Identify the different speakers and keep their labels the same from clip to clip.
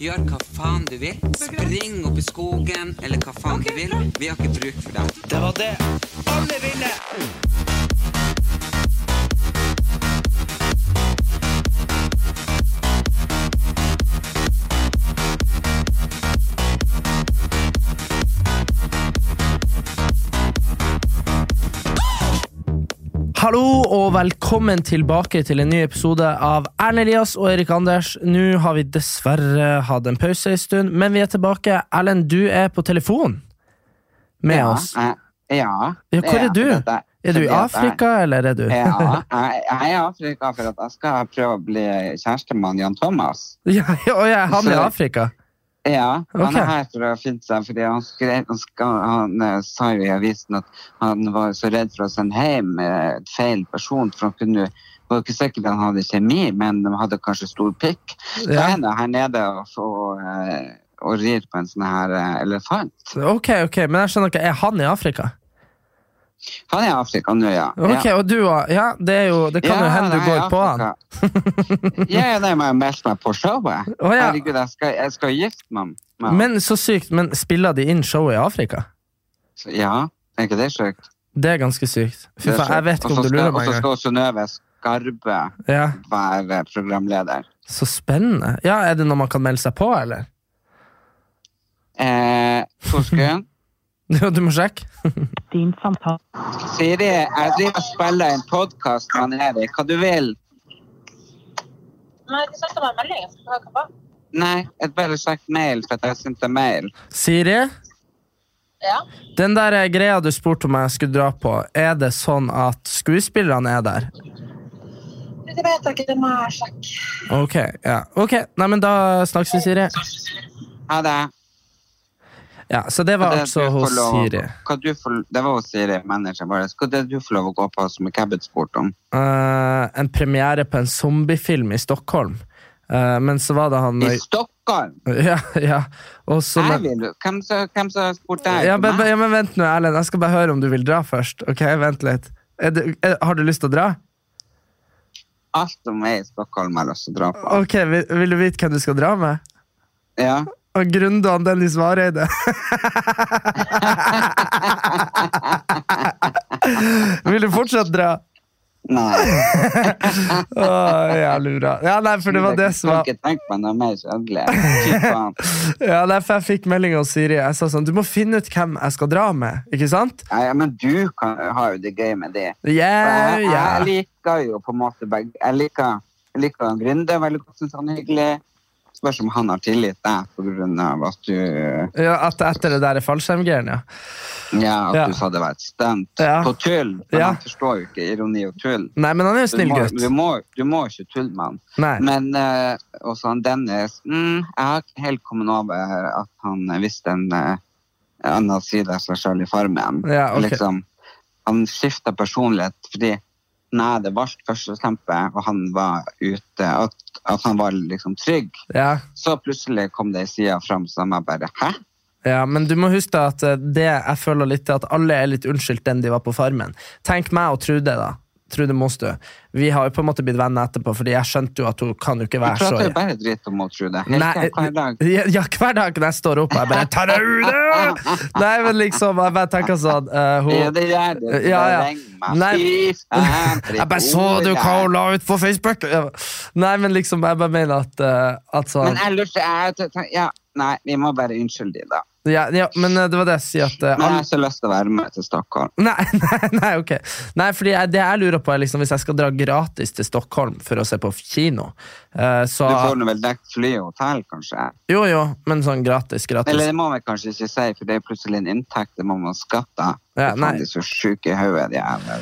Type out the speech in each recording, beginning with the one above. Speaker 1: Gjør hva faen du vil. Spring opp i skogen, eller hva faen du vil. Vi har ikke bruk for deg. Det var det alle ville!
Speaker 2: Hallo og velkommen tilbake til en ny episode av Erlend Elias og Erik Anders. Nå har vi dessverre hatt en pause en stund, men vi er tilbake. Erlend, du er på telefon med
Speaker 3: ja,
Speaker 2: oss.
Speaker 3: jeg- Ja.
Speaker 2: Ja, hvor
Speaker 3: det
Speaker 2: er du?
Speaker 3: dette-
Speaker 2: Er du i
Speaker 3: fordi at jeg-
Speaker 2: Afrika, eller er du
Speaker 3: Ja, jeg, jeg er i Afrika for at jeg skal prøve å bli kjæreste med han Jan Thomas.
Speaker 2: Ja, ja, og jeg, han er i Afrika.
Speaker 3: Ja, han
Speaker 2: Ok.
Speaker 3: er her for å finne seg, fordi han, skrev, han, skal, han eh, sa jo i avisen at han var så redd for å sende hjem eh, feil person, for han kunne det var jo ikke sikkert han hadde kjemi, men han hadde kanskje stor pikk. Så
Speaker 2: Ja.
Speaker 3: er han her nede og, får, eh, og rir på en sånn her eh, elefant.
Speaker 2: Ok, ok, men jeg skjønner ikke. Er han i Afrika?
Speaker 3: Han er i Afrika nå, ja.
Speaker 2: Ok,
Speaker 3: ja.
Speaker 2: Og du òg? Ja, det, er jo, det kan jo hende du går på han.
Speaker 3: han. ja, ja, det må jeg melde meg på showet.
Speaker 2: Å, ja.
Speaker 3: Herregud, jeg skal, jeg skal gifte meg med han.
Speaker 2: Men så sykt, men spiller de inn showet i Afrika?
Speaker 3: Så- Ja, er ikke det sjukt?
Speaker 2: Det er ganske sykt. Fy
Speaker 3: Det er
Speaker 2: faen, jeg
Speaker 3: sant.
Speaker 2: vet ikke om
Speaker 3: Og så
Speaker 2: du
Speaker 3: skal-
Speaker 2: lurer meg
Speaker 3: Og så
Speaker 2: engang.
Speaker 3: skal Synnøve Skarbe
Speaker 2: Ja,
Speaker 3: være programleder.
Speaker 2: så spennende. Ja, Er det noe man kan melde seg på, eller?
Speaker 3: Eh, Torsken,
Speaker 2: Ja, Du må sjekke.
Speaker 3: Siri, jeg driver og spiller en podkast med han Erik. Hva du vil?
Speaker 4: Nei, de sendte meg en melding. Jeg skal høre hva.
Speaker 3: Nei, jeg bare sagt mail, for at jeg sendte mail.
Speaker 2: Siri,
Speaker 4: Ja.
Speaker 2: den der eh, greia du spurte om jeg skulle dra på, er det sånn at skuespillerne er der?
Speaker 4: Det vet jeg ikke, det må jeg sjekke.
Speaker 2: Ok, ja. Ok, nei, men da snakkes vi, Siri.
Speaker 3: Ha det.
Speaker 2: Ja, Så det var
Speaker 3: Det
Speaker 2: altså
Speaker 3: du får
Speaker 2: hos
Speaker 3: lov-
Speaker 2: Siri.
Speaker 3: hva du får- Det var hos Siri, manageren vår. Hva det du får lov å gå på som ikke jeg ble spurt om?
Speaker 2: Eh, en premiere på en zombiefilm i Stockholm. Eh, men så var det han
Speaker 3: I Stockholm?
Speaker 2: Ja, ja. Og så
Speaker 3: Jeg
Speaker 2: men,
Speaker 3: vil jo. Hvem som hvem som har spurt deg?
Speaker 2: ja, men,
Speaker 3: Meg?
Speaker 2: ja, men vent nå, Erlend. Jeg skal bare høre om du vil dra først. Ok, vent litt. Er du, er, har du lyst til å dra?
Speaker 3: Alt som er i Stockholm, har jeg lyst til å dra på.
Speaker 2: Ok, vil, vil du vite hvem du skal dra med?
Speaker 3: Ja.
Speaker 2: Og Grundan Dennis Vareide. Vil du fortsatt dra?
Speaker 3: Nei.
Speaker 2: Å, jævlig bra. Ja, nei, for det var det som var
Speaker 3: Jeg kan ikke tenke meg noe mer kjedelig. Fy faen.
Speaker 2: Ja, nei, for Jeg fikk melding av Siri. Jeg sa sånn Du må finne ut hvem jeg skal dra med. Ikke sant?
Speaker 3: Nei, ja, men du kan, har jo det gøy med det.
Speaker 2: Yeah,
Speaker 3: Jeg, jeg
Speaker 2: yeah.
Speaker 3: liker jo på en måte begge. Jeg liker, jeg liker han Grunde veldig godt, synes han er hyggelig. Spørs om han har tillit deg på grunn av at du,
Speaker 2: Ja, at etter det der er fallskjermgreiene, ja.
Speaker 3: ja, at
Speaker 2: Ja.
Speaker 3: du sa det var et stunt
Speaker 2: Ja.
Speaker 3: på tull. Men
Speaker 2: Ja.
Speaker 3: han forstår jo ikke ironi og tull.
Speaker 2: Nei, men han er jo
Speaker 3: Du
Speaker 2: snill
Speaker 3: må,
Speaker 2: gutt.
Speaker 3: du, må, du må ikke tulle med han.
Speaker 2: Nei.
Speaker 3: Men eh, også han Dennis mm, Jeg har ikke helt kommet over at han visste en eh, annen side av seg selv i Farmen.
Speaker 2: Ja, ok.
Speaker 3: liksom, han skifta personlighet fordi nei, det var første kjempet, og han var ute. At, at han var liksom trygg.
Speaker 2: Ja,
Speaker 3: Så plutselig kom det ei side fram som jeg bare Hæ?
Speaker 2: ja, men du må huske at eh, det jeg føler litt er at alle er litt unnskyldt den de var på Farmen. Tenk meg og Trude, da. Trude Mostu. Vi har jo på en måte blitt venner etterpå, Fordi jeg skjønte jo at hun kan jo ikke
Speaker 3: Du
Speaker 2: være så
Speaker 3: prater jo bare dritt om henne, Trude. Helt
Speaker 2: Nei, eh,
Speaker 3: hver dag.
Speaker 2: ja, ja, hver dag når jeg står opp, jeg bare tar Nei, men liksom, jeg bare tenker sånn eh, hun,
Speaker 3: Ja, det gjør det.
Speaker 2: Ja, ja.
Speaker 3: Ring meg.
Speaker 2: Nei.
Speaker 3: Fy faen, for
Speaker 2: Jeg bare
Speaker 3: et
Speaker 2: så du
Speaker 3: ord
Speaker 2: hva
Speaker 3: der.
Speaker 2: hun la ut på Facebook! Ja. Nei, men liksom, jeg bare mener at, eh, at sånn
Speaker 3: Men ellers jeg, t- t- sånn, ja, Nei, vi må bare unnskylde de, da.
Speaker 2: ja, ja, men eh, det var det jeg sier at eh,
Speaker 3: Men jeg
Speaker 2: alle-
Speaker 3: har så lyst til å være med til Stockholm.
Speaker 2: Nei, nei, nei, ok. Nei, fordi jeg, det jeg lurer på er liksom, hvis jeg skal dra gratis til Stockholm for å se på kino, eh, så
Speaker 3: Du får nå vel dekket fly og hotell, kanskje?
Speaker 2: Jo, jo, men sånn gratis, gratis.
Speaker 3: Eller det må vi kanskje ikke si, for det er plutselig en inntekt. Det må man skatte.
Speaker 2: Ja,
Speaker 3: Faen,
Speaker 2: nei.
Speaker 3: de er så sjuke i hodet, de jævla.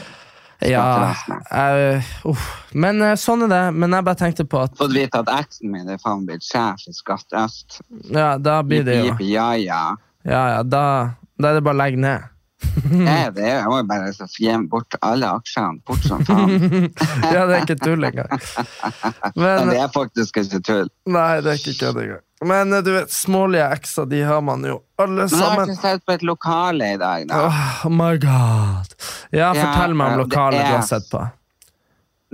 Speaker 2: Ja,
Speaker 3: Skattevesenet.
Speaker 2: jeg, uff. Men eh, sånn er det. Men jeg bare tenkte på at
Speaker 3: Fått vite at eksen min er faen blitt sjef i Skatt Øst.
Speaker 2: Ja, da blir det jo
Speaker 3: Jippi, Ja, ja.
Speaker 2: Ja, ja, da, da er det bare å legge ned. Mhm.
Speaker 3: Jeg, det, jeg må jo bare så gjemme bort alle aksjene, bort som faen.
Speaker 2: Ja, det er ikke tull engang.
Speaker 3: Men
Speaker 2: Men,
Speaker 3: det er faktisk ikke tull.
Speaker 2: nei, det er ikke kødd engang. Men eh, du vet, smålige ekser, de har man jo alle
Speaker 3: Men jeg har
Speaker 2: sammen.
Speaker 3: ikke sett på et lokale i dag, da.
Speaker 2: Oh my god. Ja, fortell meg om
Speaker 3: det
Speaker 2: lokalet du
Speaker 3: er-
Speaker 2: har sett på.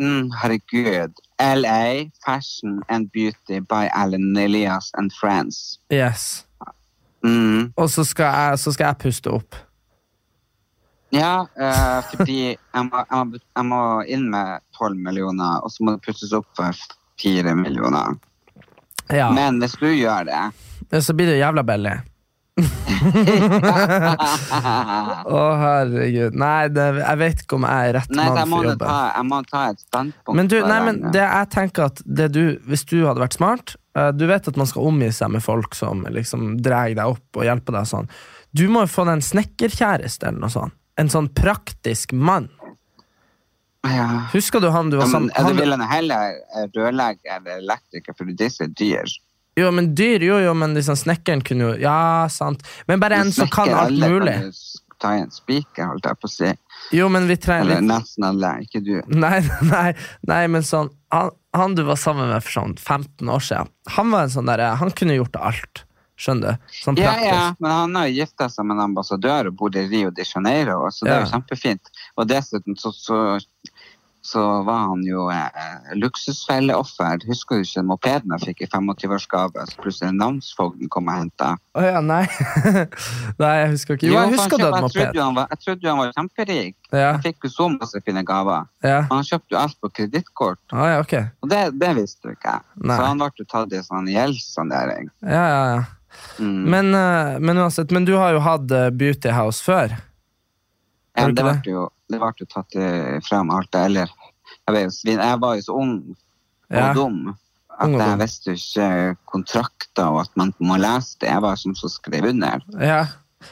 Speaker 3: Mm, herregud. LA, Fashion and Beauty by Alan Elias and Friends.
Speaker 2: Yes.
Speaker 3: Mm.
Speaker 2: Og så skal jeg, så skal jeg puste opp.
Speaker 3: Ja, eh, fordi jeg må, jeg, må, jeg må inn med 12 millioner, og så må det puttes opp for 4 millioner.
Speaker 2: Ja.
Speaker 3: Men hvis du gjør det
Speaker 2: Ja, Så blir det jo jævla billig. Å, herregud. Nei, det, jeg vet ikke om jeg er rett
Speaker 3: Nei, så
Speaker 2: mann
Speaker 3: jeg må,
Speaker 2: for
Speaker 3: nå
Speaker 2: jobben.
Speaker 3: ta, jeg må ta et standpunkt.
Speaker 2: Men du,
Speaker 3: for
Speaker 2: nei,
Speaker 3: den,
Speaker 2: men
Speaker 3: ja.
Speaker 2: det jeg tenker at det du, Hvis du hadde vært smart eh, Du vet at man skal omgi seg med folk som liksom drar deg opp og hjelper deg. og sånn Du må jo få deg en snekkerkjæreste eller noe sånt. En sånn praktisk mann.
Speaker 3: ja.
Speaker 2: Husker du han du var
Speaker 3: Ja, men,
Speaker 2: sammen
Speaker 3: jeg
Speaker 2: han,
Speaker 3: vil han heller eh, rørlegge eller elektriker, for disse er dyr.
Speaker 2: Jo, men dyr, jo, jo, men liksom snekkeren kunne jo Ja, sant. Men bare en som kan
Speaker 3: Snekker
Speaker 2: alt
Speaker 3: alle
Speaker 2: mulig.
Speaker 3: Kan du s- ta i en spiker, holdt jeg på å si.
Speaker 2: Jo, men vi trenger
Speaker 3: Eller
Speaker 2: litt
Speaker 3: nesten alle, ikke du.
Speaker 2: Nei, nei, nei men sånn han, han du var sammen med for sånn 15 år siden, han var en sånn der, han kunne gjort alt. Skjønner du? Sånn
Speaker 3: Ja,
Speaker 2: praktisk.
Speaker 3: ja, men han har jo gifta seg med en ambassadør og bor i Rio de Janeiro, så det er jo
Speaker 2: Ja.
Speaker 3: kjempefint. Og dessuten så, så, så var han jo eh, luksusfelleoffer. Husker du ikke mopeden jeg fikk i 25-årsgave, så plutselig namsfogden kom og henta?
Speaker 2: Å ja, nei. nei, jeg husker ikke. Jo, jeg husker du hadde
Speaker 3: jeg trodde
Speaker 2: moped.
Speaker 3: jo han var, jeg trodde jo han var kjemperik.
Speaker 2: Ja,
Speaker 3: Han fikk jo så masse fine gaver.
Speaker 2: ja.
Speaker 3: Han kjøpte jo alt på kredittkort,
Speaker 2: Å ja, ok.
Speaker 3: og det, det visste jo ikke jeg.
Speaker 2: Nei.
Speaker 3: Så han ble jo tatt i sånn gjeldssanering.
Speaker 2: Ja, ja, ja.
Speaker 3: Mm.
Speaker 2: Men, eh, men uansett, men du har jo hatt eh, Beauty House før.
Speaker 3: Ja,
Speaker 2: Har du
Speaker 3: det
Speaker 2: ikke
Speaker 3: ble jo, det ble jo tatt eh, frem alt det, eller jeg, ble jo svin, jeg var jo så ung og
Speaker 2: Ja.
Speaker 3: dum at
Speaker 2: Ung og
Speaker 3: jeg
Speaker 2: dum.
Speaker 3: visste jo ikke kontrakter og at man må lese det. Jeg var sånn som som skrev under.
Speaker 2: Ja.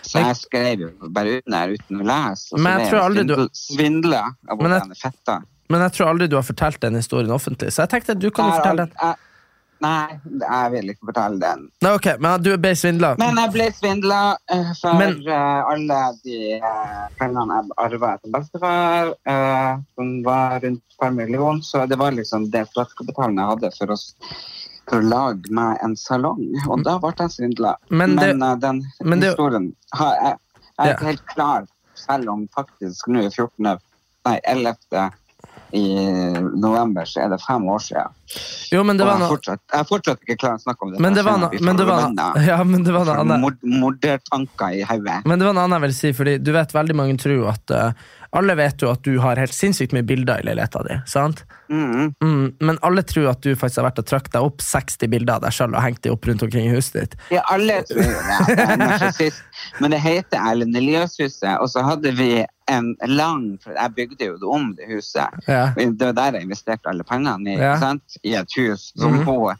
Speaker 3: Så jeg skrev jo bare under uten å lese. og så
Speaker 2: Men jeg
Speaker 3: ble
Speaker 2: tror aldri du-
Speaker 3: svindel, svindla av
Speaker 2: Men jeg-
Speaker 3: hvordan jeg fetta.
Speaker 2: Men jeg tror aldri du har fortelt den historien offentlig, så jeg tenkte at du kan jo
Speaker 3: Jeg har
Speaker 2: fortelle
Speaker 3: aldri-
Speaker 2: den.
Speaker 3: jeg- Nei, jeg vil ikke fortelle den.
Speaker 2: Nei, ok, men du ble svindla.
Speaker 3: Men jeg ble svindla eh, for
Speaker 2: Men-
Speaker 3: eh, alle de eh, pengene jeg arva etter bestefar, eh, som var rundt et par millioner. Så det var liksom det startkapitalen jeg hadde for å, s- for å lage meg en salong. Og da ble jeg svindla.
Speaker 2: Men det-
Speaker 3: eh, den
Speaker 2: men det-
Speaker 3: historien har jeg, jeg er
Speaker 2: Ja.
Speaker 3: ikke helt klar, selv om faktisk nå er 14. Nei, 11. i november så er det fem år siden.
Speaker 2: Jo, men det
Speaker 3: Og
Speaker 2: var
Speaker 3: jeg,
Speaker 2: noe
Speaker 3: fortsatt, jeg er fortsatt ikke klar å snakke om det.
Speaker 2: Men det var
Speaker 3: Jeg
Speaker 2: noe
Speaker 3: skjønner at vi
Speaker 2: Men det var
Speaker 3: forbanna.
Speaker 2: noe ja, men det var noe annet.
Speaker 3: Mord- Mordertanker i hodet.
Speaker 2: Men det var en annen jeg ville si, fordi du vet veldig mange tror jo at eh, Alle vet jo at du har helt sinnssykt mye bilder i leiligheta di, sant?
Speaker 3: Mhm.
Speaker 2: Mm, men alle tror at du faktisk har vært og trykket deg opp 60 bilder av deg sjøl og hengt de opp rundt omkring i huset ditt.
Speaker 3: Ja, alle tror jo det. at jeg er narsissist. Men det heter Erlend Elias-huset, og så hadde vi en lang for Jeg bygde jo det om, det huset.
Speaker 2: Ja.
Speaker 3: Det var der jeg investerte alle pengene i,
Speaker 2: Ja.
Speaker 3: sant? i et hus som
Speaker 2: Mhm.
Speaker 3: hun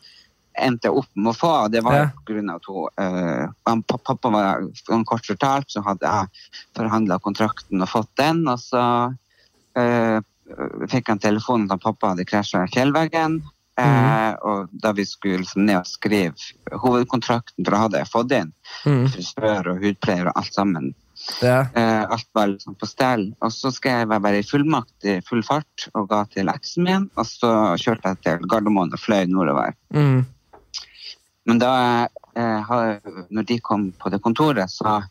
Speaker 3: endte opp med å få. Det var
Speaker 2: Ja.
Speaker 3: på grunn av at hun, eh, han, pa- pappa var sånn kort fortalt, så hadde jeg forhandla kontrakten og fått den, og så eh, fikk han telefonen at pappa hadde krasja i fjellveggen. eh,
Speaker 2: Mhm.
Speaker 3: og da vi skulle liksom ned og skrive hovedkontrakten, for da hadde jeg fått inn
Speaker 2: Mm,
Speaker 3: frisør og hudpleier og alt sammen.
Speaker 2: ja.
Speaker 3: Eh, alt var liksom på stell. Og så skrev jeg bare i fullmakt i full fart og ga til eksen min. Og så kjørte jeg til Gardermoen og fløy nordover.
Speaker 2: Mm,
Speaker 3: Men da eh, har- når de kom på det kontoret, så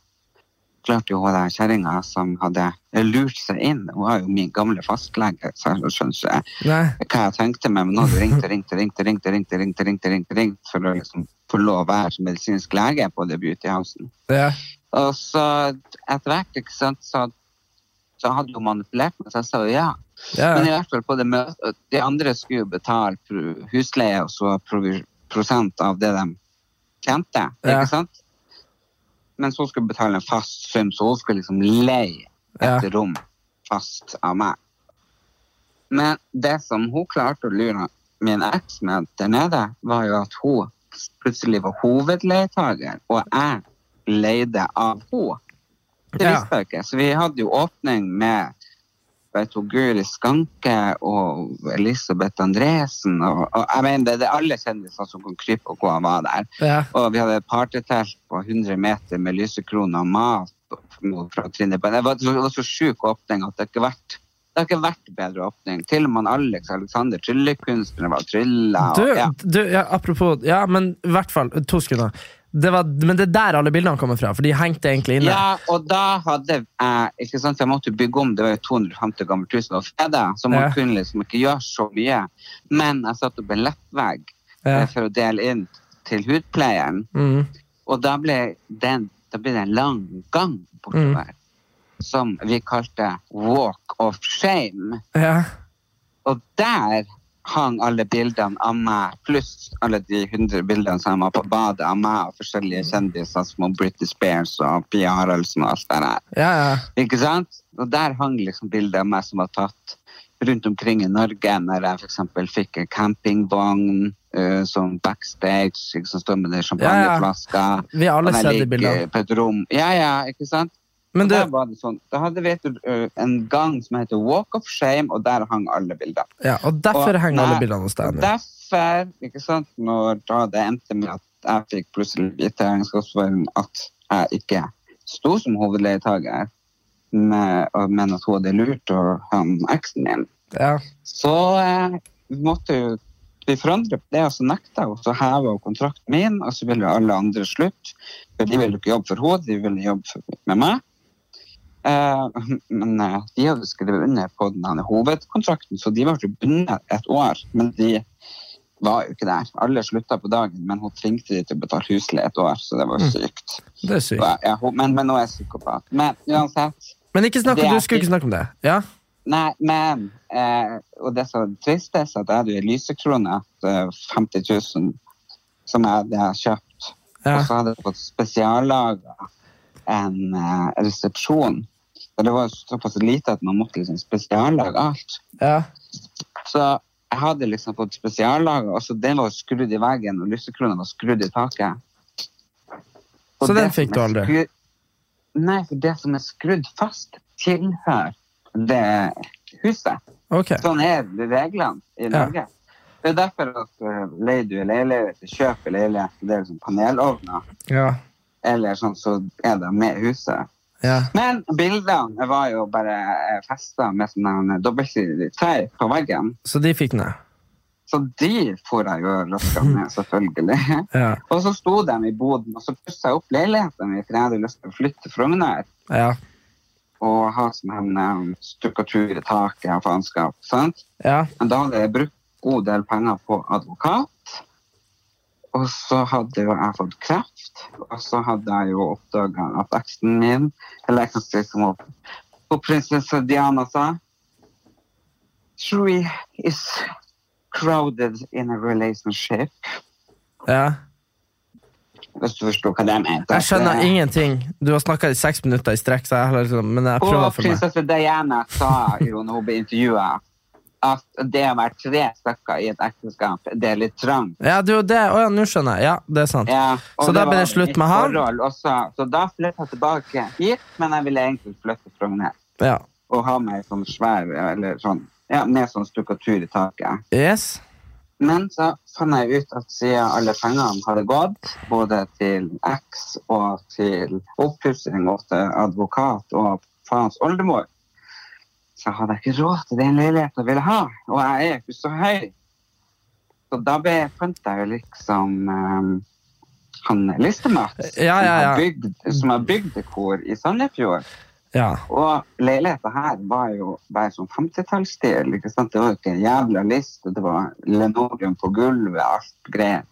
Speaker 3: klarte jo hun der kjerringa som hadde lurt seg inn Hun var jo min gamle fastlege, så jeg skjønner ikke
Speaker 2: nei.
Speaker 3: hva jeg tenkte meg. Men nå hadde hun ringt og ringt og ringt og ringt og ringt, og ringt, og ringt, og ringt, og ringt for å liksom få lov å være som medisinsk lege på det beautyhousen.
Speaker 2: Ja.
Speaker 3: Og så etter hvert, ikke sant, så, så hadde hun manipulert meg, så jeg sa jo ja.
Speaker 2: Ja.
Speaker 3: Men i hvert fall på det møtet, de andre skulle jo betale pro- husleie og så provi- prosent av det de tjente,
Speaker 2: Ja.
Speaker 3: ikke sant? Men så skulle hun betale en fast sum, så hun skulle liksom leie et
Speaker 2: Ja.
Speaker 3: rom fast av meg. Men det som hun klarte å lure min eks med der nede, var jo at hun plutselig var hovedleietager, og jeg leide av henne. Det
Speaker 2: Ja.
Speaker 3: visste jeg ikke. Så vi hadde jo åpning med Elisabeth og Guri Skanke og Elisabeth Andresen. Og, og jeg mener, det, det er alle kjendiser som kan krype og gå og var der.
Speaker 2: Ja.
Speaker 3: Og vi hadde partetelt på 100 meter med lysekroner og mat. og- fra Trine Bø. Det var, det var så sjuk åpning at det ikke har vært det har ikke vært bedre åpning. Til og med Alex Alexander, tryllekunstneren, var trylla. og-
Speaker 2: Du,
Speaker 3: ja.
Speaker 2: du ja, apropos Ja, men i hvert fall, to sekunder. Det var, men det er der alle bildene kommer fra, for de hengte egentlig inne.
Speaker 3: Ja, og da hadde jeg ikke sant, for Jeg måtte bygge om, det var jo 250 gammelt hus, det var freda, så man
Speaker 2: Ja.
Speaker 3: kunne liksom ikke gjøre så mye. Men jeg satte opp en lettvegg
Speaker 2: Ja.
Speaker 3: eh, for å dele inn til hudpleieren,
Speaker 2: Mm.
Speaker 3: og da ble den da ble det en lang gang bortover. Som vi kalte Walk of Shame.
Speaker 2: ja.
Speaker 3: Og der hang alle bildene av meg, pluss alle de hundre bildene som var på badet av meg og forskjellige kjendiser som Britney Spears og Pia Haraldsen og alt det der.
Speaker 2: Ja, ja.
Speaker 3: Ikke sant? Og der hang liksom bildet av meg som var tatt rundt omkring i Norge, når jeg f.eks. fikk en campingvogn eh, som backstage, ikke, som står med det champagneflasker.
Speaker 2: Vi har alle
Speaker 3: Og den
Speaker 2: sett de
Speaker 3: ligger
Speaker 2: bildene.
Speaker 3: På et rom. Ja, ja, ikke sant?
Speaker 2: Men
Speaker 3: Og
Speaker 2: du,
Speaker 3: der var det sånn. Da hadde vi et, eh, en gang som heter Walk of Shame, og der hang alle bildene.
Speaker 2: ja, og derfor
Speaker 3: Og-
Speaker 2: henger alle
Speaker 3: nei,
Speaker 2: bildene hos deg
Speaker 3: og
Speaker 2: nå.
Speaker 3: Derfor, ikke sant, når da det endte med at jeg fikk plutselig vite i regnskapsføreren at jeg ikke sto som hovedleietager, men men at hun hadde lurt og han eksen min,
Speaker 2: Ja.
Speaker 3: så eh, måtte jo vi forandre på det, og så nekta hun. Så heva hun kontrakten min, og så ville jo alle andre slutte. For de ville jo ikke jobbe for henne, de ville jobbe for, med meg. Eh, men eh, de hadde skrevet under på denne hovedkontrakten, så de var jo bundet et år. Men de var jo ikke der. Alle slutta på dagen, men hun tvingte de til å betale husleie et år, så det var jo sykt.
Speaker 2: Det er sykt.
Speaker 3: Ja, ja, hun- men, men nå er jeg psykopat. Men uansett.
Speaker 2: Men ikke snakk
Speaker 3: Det
Speaker 2: om,
Speaker 3: er
Speaker 2: du skulle ikke snakke om det. Ja?
Speaker 3: Nei, men eh, Og det som er trist, er at jeg hadde jo en lysekrone til 50 000 som jeg hadde kjøpt.
Speaker 2: Ja.
Speaker 3: Og så hadde jeg fått spesiallaga en eh, resepsjon. Og det var jo såpass lite at man måtte liksom spesiallage alt.
Speaker 2: ja.
Speaker 3: Så jeg hadde liksom fått spesiallaga, og så den var skrudd i veggen, og lysekrona var skrudd i taket. Og
Speaker 2: Så den
Speaker 3: det som
Speaker 2: fikk du
Speaker 3: er
Speaker 2: aldri?
Speaker 3: skru- Nei, for det som er skrudd fast, tilhører det huset.
Speaker 2: Ok.
Speaker 3: Sånn er reglene i Norge. Det er derfor at eh, leier du en leilighet, eller kjøper leilighet, det er liksom panelovner,
Speaker 2: Ja.
Speaker 3: eller sånn, så er det med huset.
Speaker 2: Ja.
Speaker 3: Men bildene var jo bare festa med sånn en dobbeltsidig teip på veggen,
Speaker 2: Så de fikk ned.
Speaker 3: så de får jeg jo løska med, selvfølgelig.
Speaker 2: Ja.
Speaker 3: Og så sto de i boden, og så pussa jeg opp leiligheten min, for jeg hadde lyst til å flytte til Frogner
Speaker 2: Ja.
Speaker 3: og ha sånn um, stukkatur i taket og faenskap. sant?
Speaker 2: Ja.
Speaker 3: Men da hadde jeg brukt god del penger på advokat. Og så hadde jo jeg fått kreft, og så hadde jeg jo oppdaga at eksen min Eller eksen sin, som hun- hun prinsesse Diana sa Three is crowded in a relationship.
Speaker 2: ja.
Speaker 3: Hvis du forsto hva det mente.
Speaker 2: Jeg skjønner ingenting. Du har snakka i seks minutter i strekk, så jeg, har liksom, men jeg prøver
Speaker 3: Og
Speaker 2: for meg.
Speaker 3: prinsesse Diana sa jo når hun ble intervjua, at det å være tre stykker i et ekteskap, det er litt trangt.
Speaker 2: Ja, du, det, å ja, nå skjønner jeg. Ja, det er sant.
Speaker 3: Ja, og
Speaker 2: Så da ble
Speaker 3: var
Speaker 2: det slutt
Speaker 3: mitt
Speaker 2: med han?
Speaker 3: forhold Også, så da flytta jeg tilbake hit, men jeg ville egentlig flytte fra Frogner
Speaker 2: Ja.
Speaker 3: og ha meg sånn svær eller sånn, ja, med sånn stukkatur i taket.
Speaker 2: Yes.
Speaker 3: Men så fant jeg ut at siden alle pengene hadde gått, både til X og til oppussing og til advokat og faens oldemor, så hadde jeg ikke råd til den leiligheten jeg ville ha, og jeg er ikke så høy. Så da ble, fant jeg jo liksom ehm, han Listemat,
Speaker 2: Ja, ja, ja.
Speaker 3: som har bygd- som har bygdekor i Sandefjord.
Speaker 2: Ja.
Speaker 3: Og leiligheten her var jo bare sånn 50-tallsstil. ikke sant? Det var jo ikke en jævla list, og det var linoleum på gulvet, alt greier.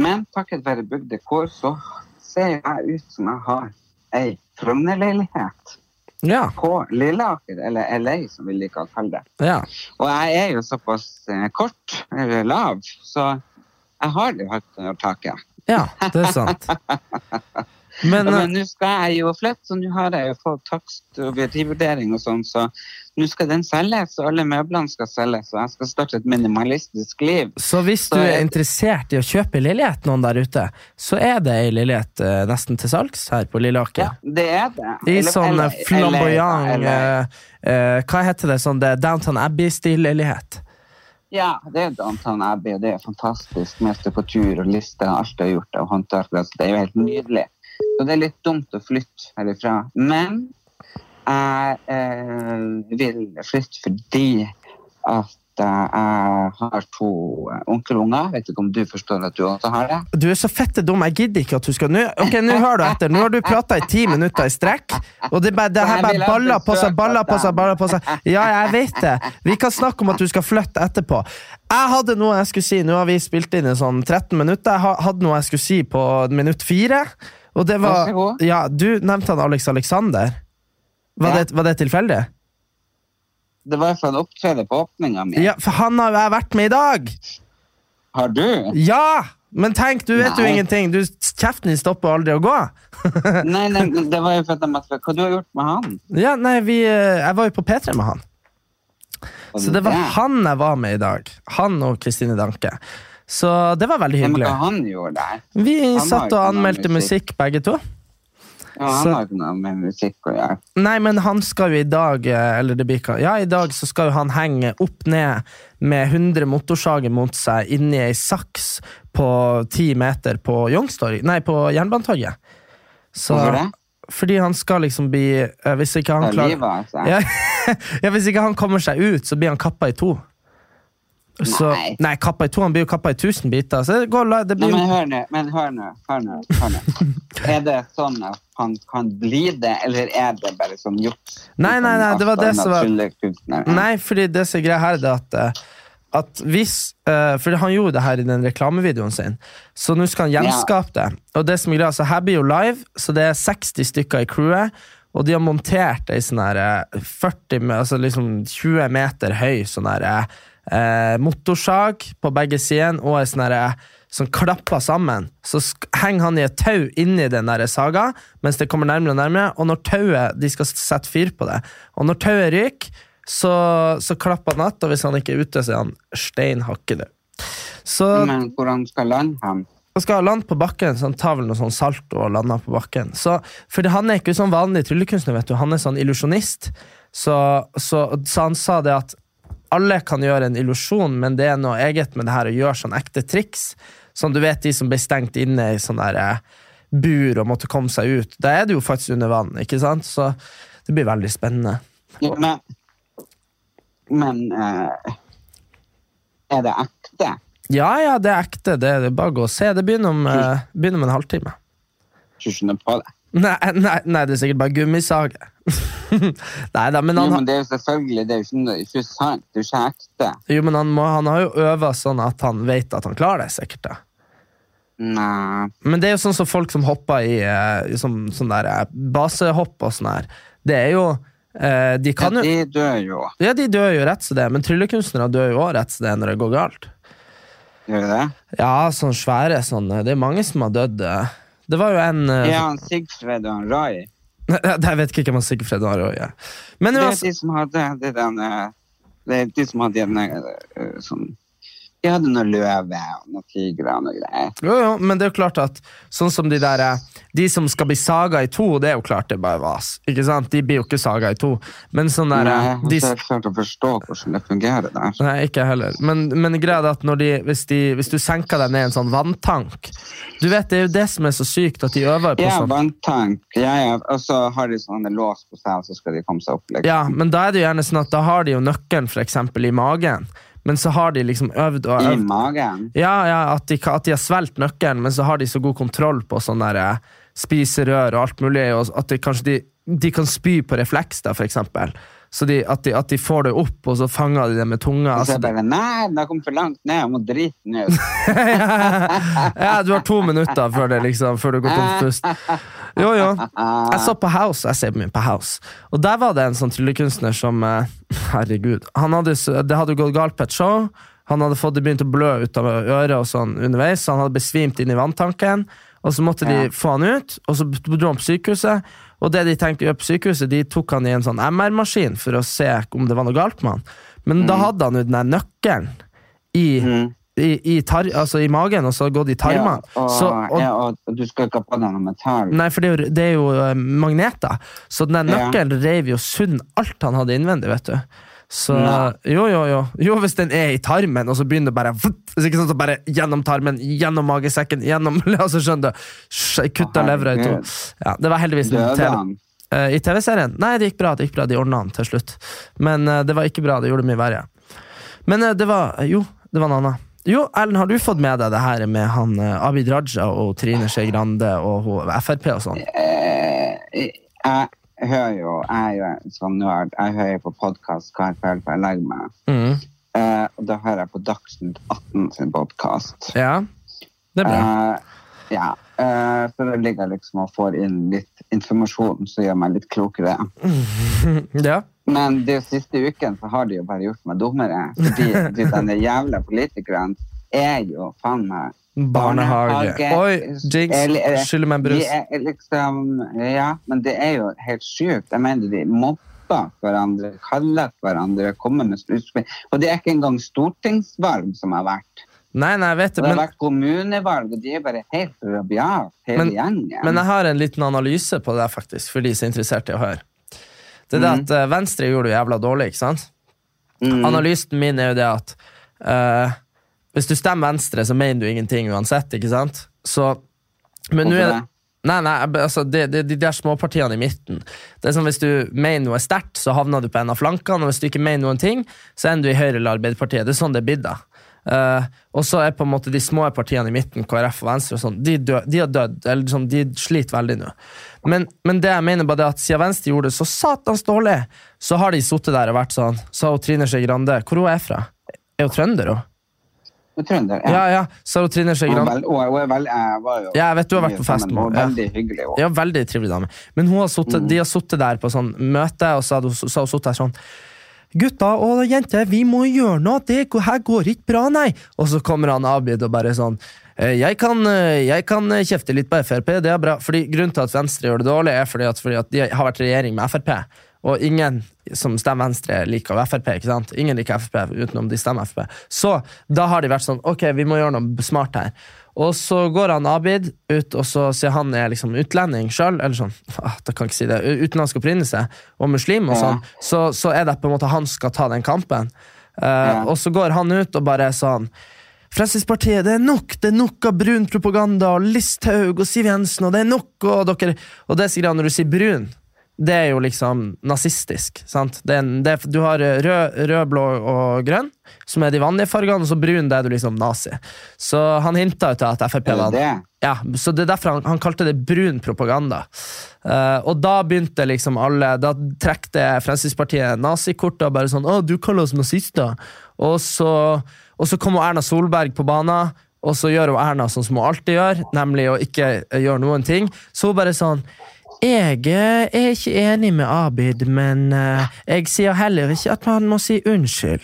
Speaker 3: Men takket være bygdekår, så ser jeg ut som jeg har ei Frogner-leilighet
Speaker 2: Ja.
Speaker 3: på Lilleaker, eller LA, som vi liker å kalle det.
Speaker 2: Ja.
Speaker 3: Og jeg er jo såpass eh, kort, eller lav, så jeg har det jo høyt under taket.
Speaker 2: ja. Det er sant. Men,
Speaker 3: Ja,
Speaker 2: eh,
Speaker 3: Men nå skal jeg jo flytte, så nå har jeg jo fått takst og verdivurdering og sånn, så nå skal den selges, og alle møblene skal selges, og jeg skal starte et minimalistisk liv.
Speaker 2: så hvis du
Speaker 3: så
Speaker 2: er
Speaker 3: jeg-
Speaker 2: interessert i å kjøpe leilighet noen der ute, så er det ei leilighet eh, nesten til salgs her på Lilleaker.
Speaker 3: Det er det.
Speaker 2: I
Speaker 3: Eller-
Speaker 2: sånn
Speaker 3: eller-
Speaker 2: eh, flamboyant
Speaker 3: eller- eller-
Speaker 2: eh, eh, Hva heter det? Sånn det er Downtown Abbey-stil-leilighet.
Speaker 3: Ja, det er Downtown Abbey, og det er fantastisk. Mester på tur og liste og alt jeg har gjort av håndverkere. Så det er jo helt nydelig. Så det er litt dumt å flytte herifra. Men jeg eh, vil flytte fordi at eh, jeg har to eh, onkelunger. Vet ikke om du forstår at du også har det?
Speaker 2: Du er så fette dum, jeg gidder ikke at du skal nå Ok, nå hører du etter. Nå har du prata i ti minutter i strekk, og det, er bare, det her
Speaker 3: Jeg vil
Speaker 2: bare
Speaker 3: ha
Speaker 2: baller på seg,
Speaker 3: besøk
Speaker 2: baller på
Speaker 3: av
Speaker 2: seg,
Speaker 3: dem.
Speaker 2: baller på seg. Ja, jeg vet det. Vi kan snakke om at du skal flytte etterpå. Jeg hadde noe jeg skulle si, nå har vi spilt inn i sånn 13 minutter, jeg ha- hadde noe jeg skulle si på minutt fire, og det
Speaker 3: Vær så
Speaker 2: var
Speaker 3: god.
Speaker 2: Ja, du nevnte han Alex Alexander. Var
Speaker 3: Ja.
Speaker 2: det, var det tilfeldig?
Speaker 3: Det var for en opptreden på åpninga mi.
Speaker 2: Ja, for han har jo jeg vært med i dag!
Speaker 3: Har du?
Speaker 2: Ja! Men tenk, du vet jo
Speaker 3: Nei.
Speaker 2: ingenting. Du, kjeften din stopper aldri å gå.
Speaker 3: Nei, nei, men det var jo for at de måtte Hva du har gjort med han?
Speaker 2: Ja, nei, vi, eh, Jeg var jo på P3 med han.
Speaker 3: Og
Speaker 2: Så det var
Speaker 3: der.
Speaker 2: han jeg var med i dag. Han og Kristine Danke. Så det var veldig
Speaker 3: Ja, Men
Speaker 2: hyggelig.
Speaker 3: hva han gjorde der?
Speaker 2: Vi
Speaker 3: har
Speaker 2: satt
Speaker 3: ikke
Speaker 2: og
Speaker 3: noe
Speaker 2: anmeldte
Speaker 3: musikk.
Speaker 2: musikk, begge to.
Speaker 3: Ja, han
Speaker 2: Så-
Speaker 3: har ikke noe med musikk å gjøre.
Speaker 2: Nei, men han skal jo i dag eh, Eller det blir ikke Ja, i dag så skal jo han henge opp ned med 100 motorsager mot seg inni ei saks på 10 meter på Youngstorg Nei, på Jernbanetorget. Så-
Speaker 3: Hvorfor det?
Speaker 2: Fordi han skal liksom bli eh, Hvis ikke han
Speaker 3: Det er livet,
Speaker 2: klarer
Speaker 3: altså.
Speaker 2: ja, ja, hvis ikke han kommer seg ut, så blir han kappa i to. Så, nei.
Speaker 3: Nei.
Speaker 2: kappa i to. Han blir jo kappa i tusen biter. Så det går, la- det
Speaker 3: Nei,
Speaker 2: blir,
Speaker 3: men hør nå, men hør nå, hør nå, hør nå. Er det sånn at han kan bli det, eller er det bare sånn juks?
Speaker 2: Nei, nei, nei, det var det som var-
Speaker 3: Nei.
Speaker 2: Nei, fordi det som er greia her, det er at eh, at hvis, eh, For han gjorde det her i den reklamevideoen sin, så nå skal han gjenskape det. Og det som er greia, så Her blir jo live, så det er 60 stykker i crewet. Og de har montert ei sånn her eh, 40, me- altså liksom 20 meter høy sånn her eh, motorsag på begge sidene og ei sånn her eh, som klapper sammen. Så sk henger han i et tau inni den der saga mens det kommer nærmere og nærmere. Og når tauet De skal sette fyr på det. Og når tauet ryker, så, så klapper han att, og hvis han ikke er ute, så er han stein hakkede. Så
Speaker 3: Men hvordan skal lande ham?
Speaker 2: han skal lande på bakken, så han tar vel noe sånn salto og lander på bakken. Så, for han er ikke sånn vanlig tryllekunstner, vet du. Han er sånn illusjonist. Så, så, så han sa det at alle kan gjøre en illusjon, men det er noe eget med det her å gjøre sånn ekte triks. Sånn du vet de som ble stengt inne i sånn der eh, bur og måtte komme seg ut. Da er du jo faktisk under vann, ikke sant? Så det blir veldig spennende.
Speaker 3: Ja, men men eh, er det ekte?
Speaker 2: Ja, ja, det er ekte. Det er bare å gå og se. Det begynner om, eh, begynner om en halvtime.
Speaker 3: Du skjønner på det.
Speaker 2: Nei, nei, nei, det er sikkert bare gummisage. nei da, men
Speaker 3: Jo,
Speaker 2: han,
Speaker 3: men det er jo selvfølgelig, det er jo ikke, noe- ikke sant, det er jo ikke ekte.
Speaker 2: Jo, men han, må, han har jo øva sånn at han vet at han klarer det, sikkert. da.
Speaker 3: Nei.
Speaker 2: Men det er jo sånn som folk som hopper i eh, i sånn, sånn der eh, basehopp og sånn her. Det er jo eh, De kan jo
Speaker 3: De dør jo,
Speaker 2: Ja, de dør jo rett som det, er, men tryllekunstnere dør jo òg rett som det er når det går galt.
Speaker 3: gjør de det?
Speaker 2: Ja, sånn svære sånn eh, Det er mange som har dødd. eh. Det var jo en eh,
Speaker 3: Ja, han Sigfred og han Rai.
Speaker 2: Jeg vet ikke hvem han Sigfred har òg. Ja. Men
Speaker 3: Det er
Speaker 2: uansett
Speaker 3: de som hadde det den eh, Det er de som hadde den eh, sånn De hadde noe løve og noe tigre og noe greier.
Speaker 2: Jo, jo, men det er jo klart at sånn som de der eh, De som skal bli saga i to, det er jo klart det er bare vas. Ikke sant? De blir jo ikke saga i to. Men sånn der eh,
Speaker 3: Nei,
Speaker 2: de,
Speaker 3: jeg har ikke klart å forstå hvordan det fungerer der.
Speaker 2: Nei, ikke jeg heller. Men, men greia er at når de, hvis, de, hvis du senker deg ned i en sånn vanntank Du vet, Det er jo det som er så sykt, at de øver på
Speaker 3: Ja,
Speaker 2: sånn.
Speaker 3: vanntank. Ja, ja. Og så har de sånne lås på seg, og så skal de komme seg opp. Liksom.
Speaker 2: Ja, Men da er det jo gjerne sånn at da har de jo nøkkelen for eksempel i magen, men så har de liksom øvd og
Speaker 3: I
Speaker 2: øvd.
Speaker 3: magen.
Speaker 2: Ja, ja, at de, at de har svelgt nøkkelen, men så har de så god kontroll på sånne der, eh, spiserør og alt mulig, og at de kanskje de, de kan spy på refleks, da, for eksempel. Så de, at, de, at de får det opp, og så fanger de det med tunga.
Speaker 3: Og
Speaker 2: Altså,
Speaker 3: så er det bare Nei, den har kommet for langt ned, jeg må drite den ut.
Speaker 2: ja, du har to minutter før, det, liksom, før du går tom for pust. Jo, jo. Jeg så på House. Jeg ser mye på House. Og der var det en sånn tryllekunstner som eh, Herregud. Han hadde, s- det hadde gått galt på et show, Han hadde fått det begynt å blø ut av øret og sånn underveis, så han hadde besvimt inn i vanntanken. Og så måtte de
Speaker 3: Ja.
Speaker 2: få han ut, og så dro han på sykehuset. Og det de tenkte å gjøre på sykehuset, de tok han i en sånn MR-maskin for å se om det var noe galt med han. Men
Speaker 3: Mm.
Speaker 2: da hadde han jo den der nøkkelen i, i, i, tar, altså i magen, og så hadde det gått i tarmene.
Speaker 3: Ja, og,
Speaker 2: så, og,
Speaker 3: ja, og du skal ikke ha på deg noe metall.
Speaker 2: Nei, for det er jo, det er jo eh, magneter. Så den der
Speaker 3: Ja.
Speaker 2: nøkkelen reiv jo sund alt han hadde innvendig, vet du. Så jo, jo, jo. Jo, hvis den er i tarmen, og så begynner det bare vutt, hvis ikke sant, så bare gjennom tarmen, gjennom magesekken, gjennom Altså, skjønner du. Sj- Kutta
Speaker 3: Å,
Speaker 2: levra i to.
Speaker 3: herregud.
Speaker 2: Ja, det var heldigvis en
Speaker 3: Døde
Speaker 2: tele-
Speaker 3: han?
Speaker 2: Eh, I TV-serien? Nei, det gikk bra. det gikk bra, De ordna han til slutt. Men eh, det var ikke bra. Det gjorde det mye verre. Men eh, det var Jo, det var noe annet. Jo, Erlend, har du fått med deg det her med han eh, Abid Raja og Trine Skei Grande og hun- Frp og sånn?
Speaker 3: Eh, jeg hører jo, jeg er jo en sånn nerd, jeg hører på podkast hver kveld før jeg legger meg.
Speaker 2: Mhm.
Speaker 3: Eh, og da hører jeg på Dagsnytt 18 sin podkast.
Speaker 2: Ja. Det er bra.
Speaker 3: Eh, ja. eh, så da ligger jeg liksom og får inn litt informasjon som gjør meg litt klokere.
Speaker 2: Ja.
Speaker 3: Men de siste uken så har de jo bare gjort meg dummere. Fordi de denne jævla politikerne er jo faen meg
Speaker 2: Barnehage. Oi, Jinx,
Speaker 3: Eller- eller-
Speaker 2: skylder meg en brus.
Speaker 3: De er liksom, ja, men det er jo helt sjukt. Jeg mener de mobber hverandre, kaller hverandre, kommer med utspill. Og det er ikke engang stortingsvalg som har vært.
Speaker 2: Nei, nei, jeg vet
Speaker 3: Det
Speaker 2: det,
Speaker 3: har
Speaker 2: men,
Speaker 3: vært kommunevalg, og de er bare helt rabiat, hele
Speaker 2: Men-
Speaker 3: gjengen.
Speaker 2: men jeg har en liten analyse på det der, faktisk, for de som er interessert i å høre. Det er det at eh, Venstre gjorde det jævla dårlig, ikke sant?
Speaker 3: Mm.
Speaker 2: Analysen min er jo det at eh, hvis du stemmer Venstre, så mener du ingenting uansett, ikke sant? Så, men nå
Speaker 3: Hvorfor
Speaker 2: er
Speaker 3: det?
Speaker 2: Nei, nei, jeg be- altså, det- det- de der småpartiene i midten. Det er som Hvis du mener noe sterkt, så havner du på en av flankene, og hvis du ikke mener noen ting, så ender du i Høyre eller Arbeiderpartiet. Det er sånn det er blitt, da. Eh, og så er på en måte de små partiene i midten, KrF og Venstre, og sånn, de, dø, de har dødd. Eller sånn, de sliter veldig nå. Men, men det jeg mener bare det er at siden Venstre gjorde det så satans dårlig, så har de sittet der og vært sånn. Så har hun Trine Skei Grande Hvor hun er fra? Er hun trønder, hun?
Speaker 3: Du er trønder, ja.
Speaker 2: Ja, ja. Så har hun Trine Skei
Speaker 3: Hun er
Speaker 2: Grande
Speaker 3: vel- hun er- hun er vel- jeg var jo
Speaker 2: Ja, jeg vet du har vært på
Speaker 3: sammen
Speaker 2: fest med
Speaker 3: med henne.
Speaker 2: henne, ja.
Speaker 3: Veldig hyggelig. hun.
Speaker 2: Ja, veldig trivelig dame. Men hun har suttet, de har sittet der på sånn møte, og så hadde hun- så har hun sittet der sånn Gutta og jenter, vi må gjøre noe! Det går- her går ikke bra, nei! Og så kommer han Abid og bare sånn «Eh, jeg kan, eh, jeg kan eh, kjefte litt på Frp, det er bra. Fordi Grunnen til at Venstre gjør det dårlig, er fordi at, fordi at de har vært regjering med Frp. Og ingen som stemmer Venstre, liker jo Frp. ikke sant? Ingen liker Frp utenom de stemmer Frp. Så da har de vært sånn Ok, vi må gjøre noe smart her. Og så går han Abid ut, og så sier han er liksom utlending sjøl, eller sånn, ah, da kan jeg ikke si det, u- utenlandsk opprinnelse, og muslim, og sånn, så, så er det på en måte han skal ta den kampen. Eh, Og så går han ut og bare er sånn Fremskrittspartiet, det er nok! Det er nok av brun propaganda og Listhaug og Siv Jensen, og det er nok! Og, dere, og det sier han når du sier brun. Det er jo liksom nazistisk. sant? Det er en, det er, du har eh, rød, rød, blå og grønn, som er de vanlige fargene, og så brun, det er du liksom nazi. Så han hinta jo til at Frp
Speaker 3: Er
Speaker 2: var
Speaker 3: det det?
Speaker 2: ja, så det er derfor han, han kalte det brun propaganda. Eh, og da begynte liksom alle Da trekte Fremskrittspartiet nazikortet og bare sånn 'Å, du kaller oss nazister'. Og så, og så kom hun Erna Solberg på banen, og så gjør hun Erna sånn som hun alltid gjør, nemlig å ikke eh, gjøre noen ting. Så hun bare sånn jeg eh, er ikke enig med Abid, men eh, jeg sier heller ikke at man må si unnskyld.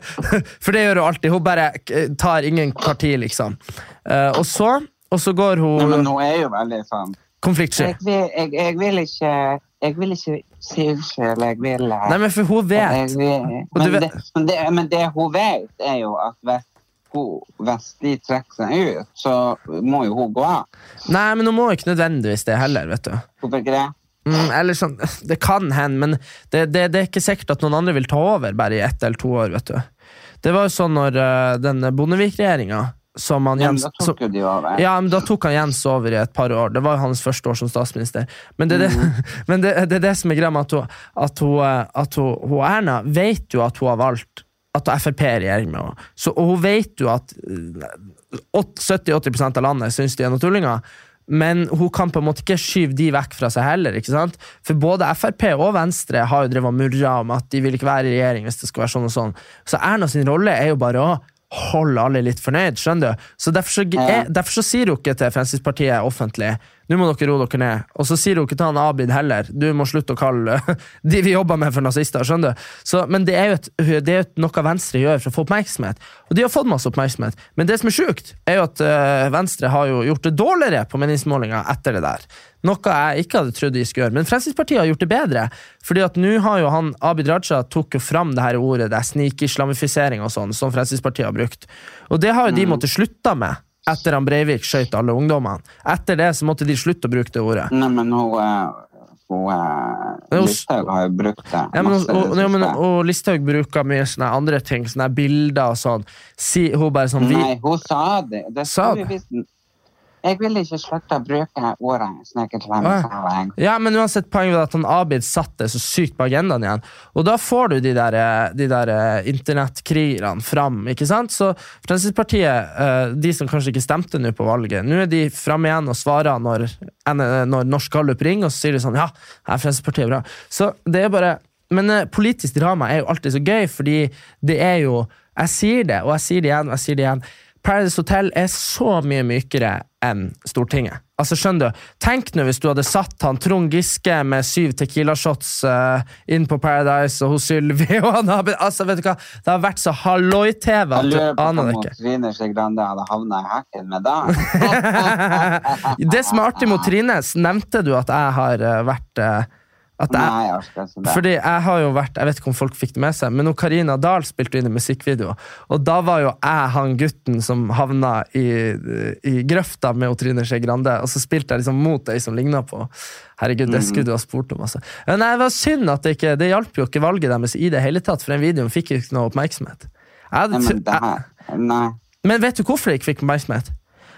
Speaker 2: For det gjør hun alltid. Hun bare eh, tar ingen parti, liksom. Eh, og så og så går
Speaker 3: Nei, men
Speaker 2: hun
Speaker 3: hun er jo veldig sånn
Speaker 2: konfliktsky.
Speaker 3: jeg vil, jeg, jeg vil ikke jeg vil ikke si unnskyld, jeg vil eh,
Speaker 2: Nei, men for hun
Speaker 3: jeg
Speaker 2: vet.
Speaker 3: vil-
Speaker 2: Og du
Speaker 3: Men,
Speaker 2: vet-
Speaker 3: det, men, det, men det hun vet, er jo at hvis, hun, hvis de trekker seg ut, så må jo hun gå av.
Speaker 2: Nei, men hun må ikke nødvendigvis det heller, vet du.
Speaker 3: Hvorfor ikke det?
Speaker 2: Mm, eller sånn, Det kan hende, men det, det, det er ikke sikkert at noen andre vil ta over bare i ett eller to år, vet du. Det var jo sånn når eh, den Bondevik-regjeringa som han
Speaker 3: Men
Speaker 2: Jens
Speaker 3: da
Speaker 2: som-
Speaker 3: tok jo de over.
Speaker 2: Ja, men Da tok han Jens over i et par år. Det var jo hans første år som statsminister. Men det er det,
Speaker 3: Mm.
Speaker 2: men det, det, er det som er greia med at, hun, at, hun, eh, at hun, hun Erna vet jo at hun har valgt at Frp er i regjering med henne. Så- Og hun vet jo at eh, åt- 70-80 av landet syns de er noen tullinger. Men hun kan på en måte ikke skyve de vekk fra seg heller. ikke sant? For både Frp og Venstre har jo drevet og murra om at de vil ikke være i regjering hvis det skal være sånn og sånn. Så Erna sin rolle er jo bare å holde alle litt fornøyd, skjønner du? Så derfor så,
Speaker 3: Ja.
Speaker 2: er, derfor så sier hun ikke til Fremskrittspartiet offentlig nå må dere roe dere ned. Og så sier hun ikke til han Abid heller. Du må slutte å kalle de vi jobber med, for nazister. skjønner du? Så, men det er jo et, det er jo et, noe Venstre gjør for å få oppmerksomhet. Og de har fått masse oppmerksomhet. Men det som er sjukt, er jo at eh, Venstre har jo gjort det dårligere på meningsmålinger etter det der. Noe jeg ikke hadde trodd de skulle gjøre. Men Fremskrittspartiet har gjort det bedre. Fordi at nå har jo han, Abid Raja tok jo fram det her ordet, det er snikislamifisering og sånn, som Fremskrittspartiet har brukt. Og det har jo de måttet slutte med. Etter han Breivik skjøt alle ungdommene. Etter det så måtte de slutte å bruke det ordet.
Speaker 3: Nei, men hun, eh, hun eh,
Speaker 2: Men hun-
Speaker 3: Listhaug har jo brukt det.
Speaker 2: Ja, men,
Speaker 3: masse,
Speaker 2: og,
Speaker 3: det
Speaker 2: ja, men,
Speaker 3: siste.
Speaker 2: og Listhaug bruker mye sånne andre ting, sånne bilder og sånn. Si, hun bare sånn vi,
Speaker 3: Nei, hun sa det. det
Speaker 2: Sa
Speaker 3: sto i
Speaker 2: det?
Speaker 3: avisen. Jeg vil ikke slutte å bruke ordet snekkerklemmesammenheng.
Speaker 2: Ja, men uansett poenget var at han Abid satte så sykt på agendaen igjen. Og da får du de der, eh, de der eh, internettkrigerne fram, ikke sant? Så Fremskrittspartiet, eh, de som kanskje ikke stemte nå på valget, nå er de framme igjen og svarer når, N- når Norsk Gallup ringer, og så sier de sånn ja, her er Fremskrittspartiet bra. Så det er bare Men eh, politisk drama er jo alltid så gøy, fordi det er jo Jeg sier det, og jeg sier det igjen, og jeg sier det igjen. Paradise Hotel er så mye mykere enn Stortinget. Altså, skjønner du? Tenk nå hvis du hadde satt han Trond Giske med syv Tequila-shots eh, inn på Paradise, og hun Sylvi og han Abid Altså, vet du hva? Det har vært så halloi-TV
Speaker 3: Jeg
Speaker 2: at du
Speaker 3: lurer på
Speaker 2: aner
Speaker 3: om
Speaker 2: det ikke.
Speaker 3: Trine Skei Grande hadde havna i hakken med da.
Speaker 2: Det som er artig mot Trine, s- nevnte du at jeg har eh, vært eh, at jeg,
Speaker 3: Nei, jeg orker ikke det.
Speaker 2: Fordi jeg har jo vært, jeg vet ikke om folk fikk det med seg, men hun Karina Dahl spilte inn i musikkvideo, og da var jo jeg han gutten som havna i, i grøfta med hun Trine Skei Grande, og så spilte jeg liksom mot ei som ligna på Herregud, det
Speaker 3: Mhm.
Speaker 2: skulle du ha spurt om, altså. Men nei, det var synd at det ikke Det hjalp jo ikke valget deres i det hele tatt, for den videoen fikk jo ikke noe oppmerksomhet. Jeg hadde
Speaker 3: Nei, men,
Speaker 2: tro-
Speaker 3: det
Speaker 2: jeg,
Speaker 3: her, nei.
Speaker 2: men vet du hvorfor jeg ikke fikk oppmerksomhet?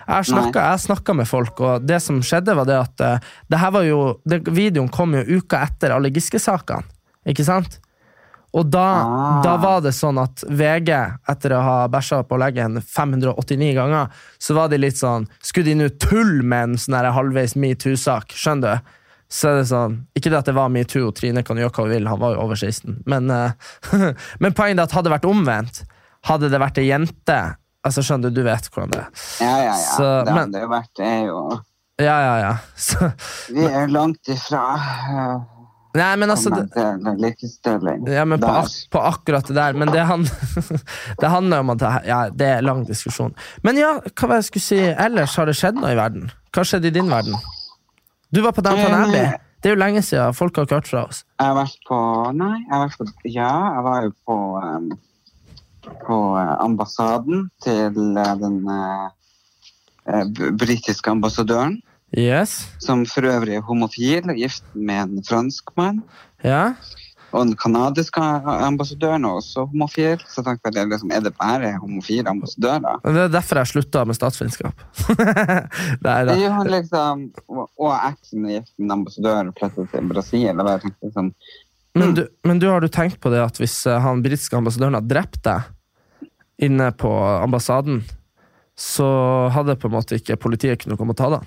Speaker 2: Jeg har snakket- jeg har snakka med folk, og det som skjedde, var det at eh, det her var jo, det, videoen kom jo uka etter alle Giske-sakene. Ikke sant? Og da,
Speaker 3: Ah.
Speaker 2: da var det sånn at VG, etter å ha bæsja på leggen 589 ganger, så var de litt sånn Skulle de nå tulle med en sånn her halvveis metoo-sak? Skjønner du? Så er det sånn, Ikke det at det var metoo, og Trine kan gjøre hva hun vil, han var jo over 16, men, eh, men poenget er at hadde det vært omvendt, hadde det vært ei jente altså Skjønner du, du vet hvordan det er.
Speaker 3: Ja, ja, ja.
Speaker 2: Så,
Speaker 3: det
Speaker 2: men-
Speaker 3: hadde jo vært det er jo
Speaker 2: Ja, ja, ja. Så,
Speaker 3: Vi er jo langt ifra eh,
Speaker 2: nei, men altså det,
Speaker 3: kommenterende likestilling.
Speaker 2: Ja, men på,
Speaker 3: Der.
Speaker 2: ak på akkurat det der. Men det, han, det handler om at det, her- ja, det er lang diskusjon. Men ja, hva var det jeg skulle si? Ellers har det skjedd noe i verden. Hva skjedde i din verden? Du var på Downton
Speaker 3: Eh,
Speaker 2: Abbey. Det er jo lenge siden. Folk har ikke hørt fra oss.
Speaker 3: Jeg har vært på Nei, jeg har vært på Ja, jeg var jo på em, På eh, ambassaden til eh, den eh, eh, b- britiske ambassadøren,
Speaker 2: Yes.
Speaker 3: som for øvrig er homofil og gift med en franskmann.
Speaker 2: Ja.
Speaker 3: Og den kanadiske ambassadøren er også homofil, så tenkte jeg det er liksom, er det bare homofile ambassadører?
Speaker 2: Men Det er derfor jeg slutta med statsvitenskap. Nei
Speaker 3: Det
Speaker 2: da.
Speaker 3: er jo liksom, og- og eksen er gift med en ambassadør flyttet til Brasil. Og jeg tenkte sånn,
Speaker 2: Men du, men du har du tenkt på det at hvis eh, han britiske ambassadøren hadde drept deg inne på ambassaden, så hadde på en måte ikke politiet kunnet komme og ta deg?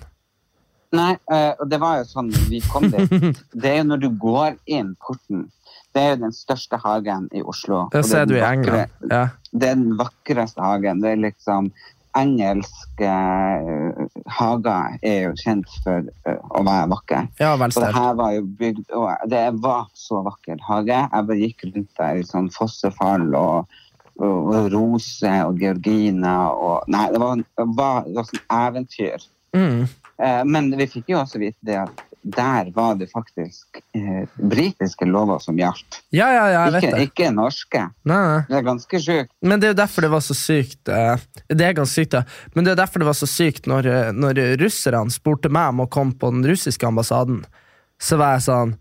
Speaker 3: Nei, eh, og det var jo sånn vi kom dit. Det er jo når du går inn porten. Det er jo den største hagen i Oslo. og
Speaker 2: Det
Speaker 3: er
Speaker 2: ser
Speaker 3: den
Speaker 2: du i
Speaker 3: vakre-
Speaker 2: England. Ja.
Speaker 3: Det er den vakreste hagen. Det er liksom Engelske eh, hager er jo kjent for eh, å være vakre.
Speaker 2: Ja, vel
Speaker 3: Og det
Speaker 2: sterk.
Speaker 3: her var jo bygd og Det var så vakker hage. Jeg bare gikk rundt der i sånn fossefall og, og, og roser og georginer og Nei, det var, det var, det var sånn eventyr.
Speaker 2: Mm.
Speaker 3: Eh, men vi fikk jo også vite det at der var det faktisk eh, britiske lover som gjaldt.
Speaker 2: Ja, ja, ja, jeg
Speaker 3: Ikke,
Speaker 2: vet det.
Speaker 3: ikke norske.
Speaker 2: Nei, nei.
Speaker 3: Det er ganske sjukt.
Speaker 2: Men det er jo derfor det var så sykt eh, Det er ganske sykt, ja. Men det er derfor det var så sykt når, eh, når russerne spurte meg om å komme på den russiske ambassaden. Så var jeg sånn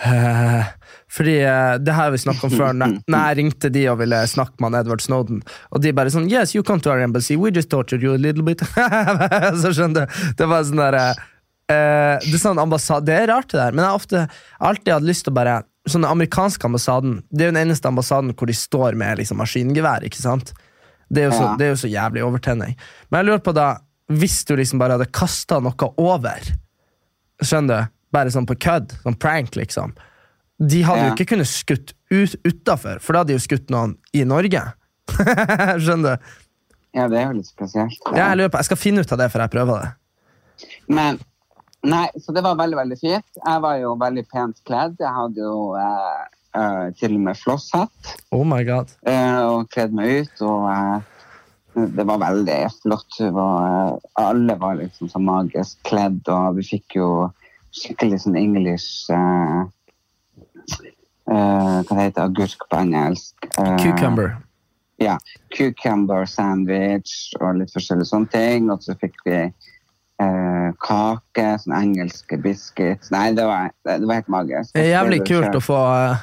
Speaker 2: eh, Fordi eh, det her har vi snakket om før. Når når jeg ringte de og ville snakke med han Edward Snowden, og de bare sånn Yes, you come to our embassy. We just tortured you a little bit. så skjønner du. Det var sånn der eh, Eh, det, er sånn ambassade, det er rart, det der, men jeg har ofte, alltid hatt lyst til å bare Sånn Den amerikanske ambassaden Det er jo den eneste ambassaden hvor de står med liksom, maskingevær. ikke sant? Det er, jo så,
Speaker 3: Ja.
Speaker 2: det er jo så jævlig overtenning. Men jeg lurer på da Hvis du liksom bare hadde kasta noe over Skjønner du? Bare sånn på kødd. Sånn prank, liksom. De hadde jo
Speaker 3: Ja.
Speaker 2: ikke kunnet skutt ut, utafor, for da hadde de jo skutt noen i Norge. skjønner du?
Speaker 3: Ja, det er jo litt spesielt.
Speaker 2: Ja, jeg, lurer på, jeg skal finne ut av det før jeg prøver det.
Speaker 3: Men Nei, så det var veldig, veldig fint. Jeg var jo veldig pent kledd. Jeg hadde jo eh, eh, til og med flosshatt
Speaker 2: Oh my god.
Speaker 3: eh, og kledd meg ut. Og eh, det var veldig flott. Det var, eh, alle var liksom så magisk kledd, og vi fikk jo skikkelig sånn English eh, eh, Hva det heter agurk på engelsk? Eh,
Speaker 2: Cucumber.
Speaker 3: ja, cucumber sandwich og litt forskjellige sånne ting. Og så fikk vi eh, kake, sånn engelske biscuits. Nei, det var, det var helt magisk.
Speaker 2: Det er jævlig kult å få eh,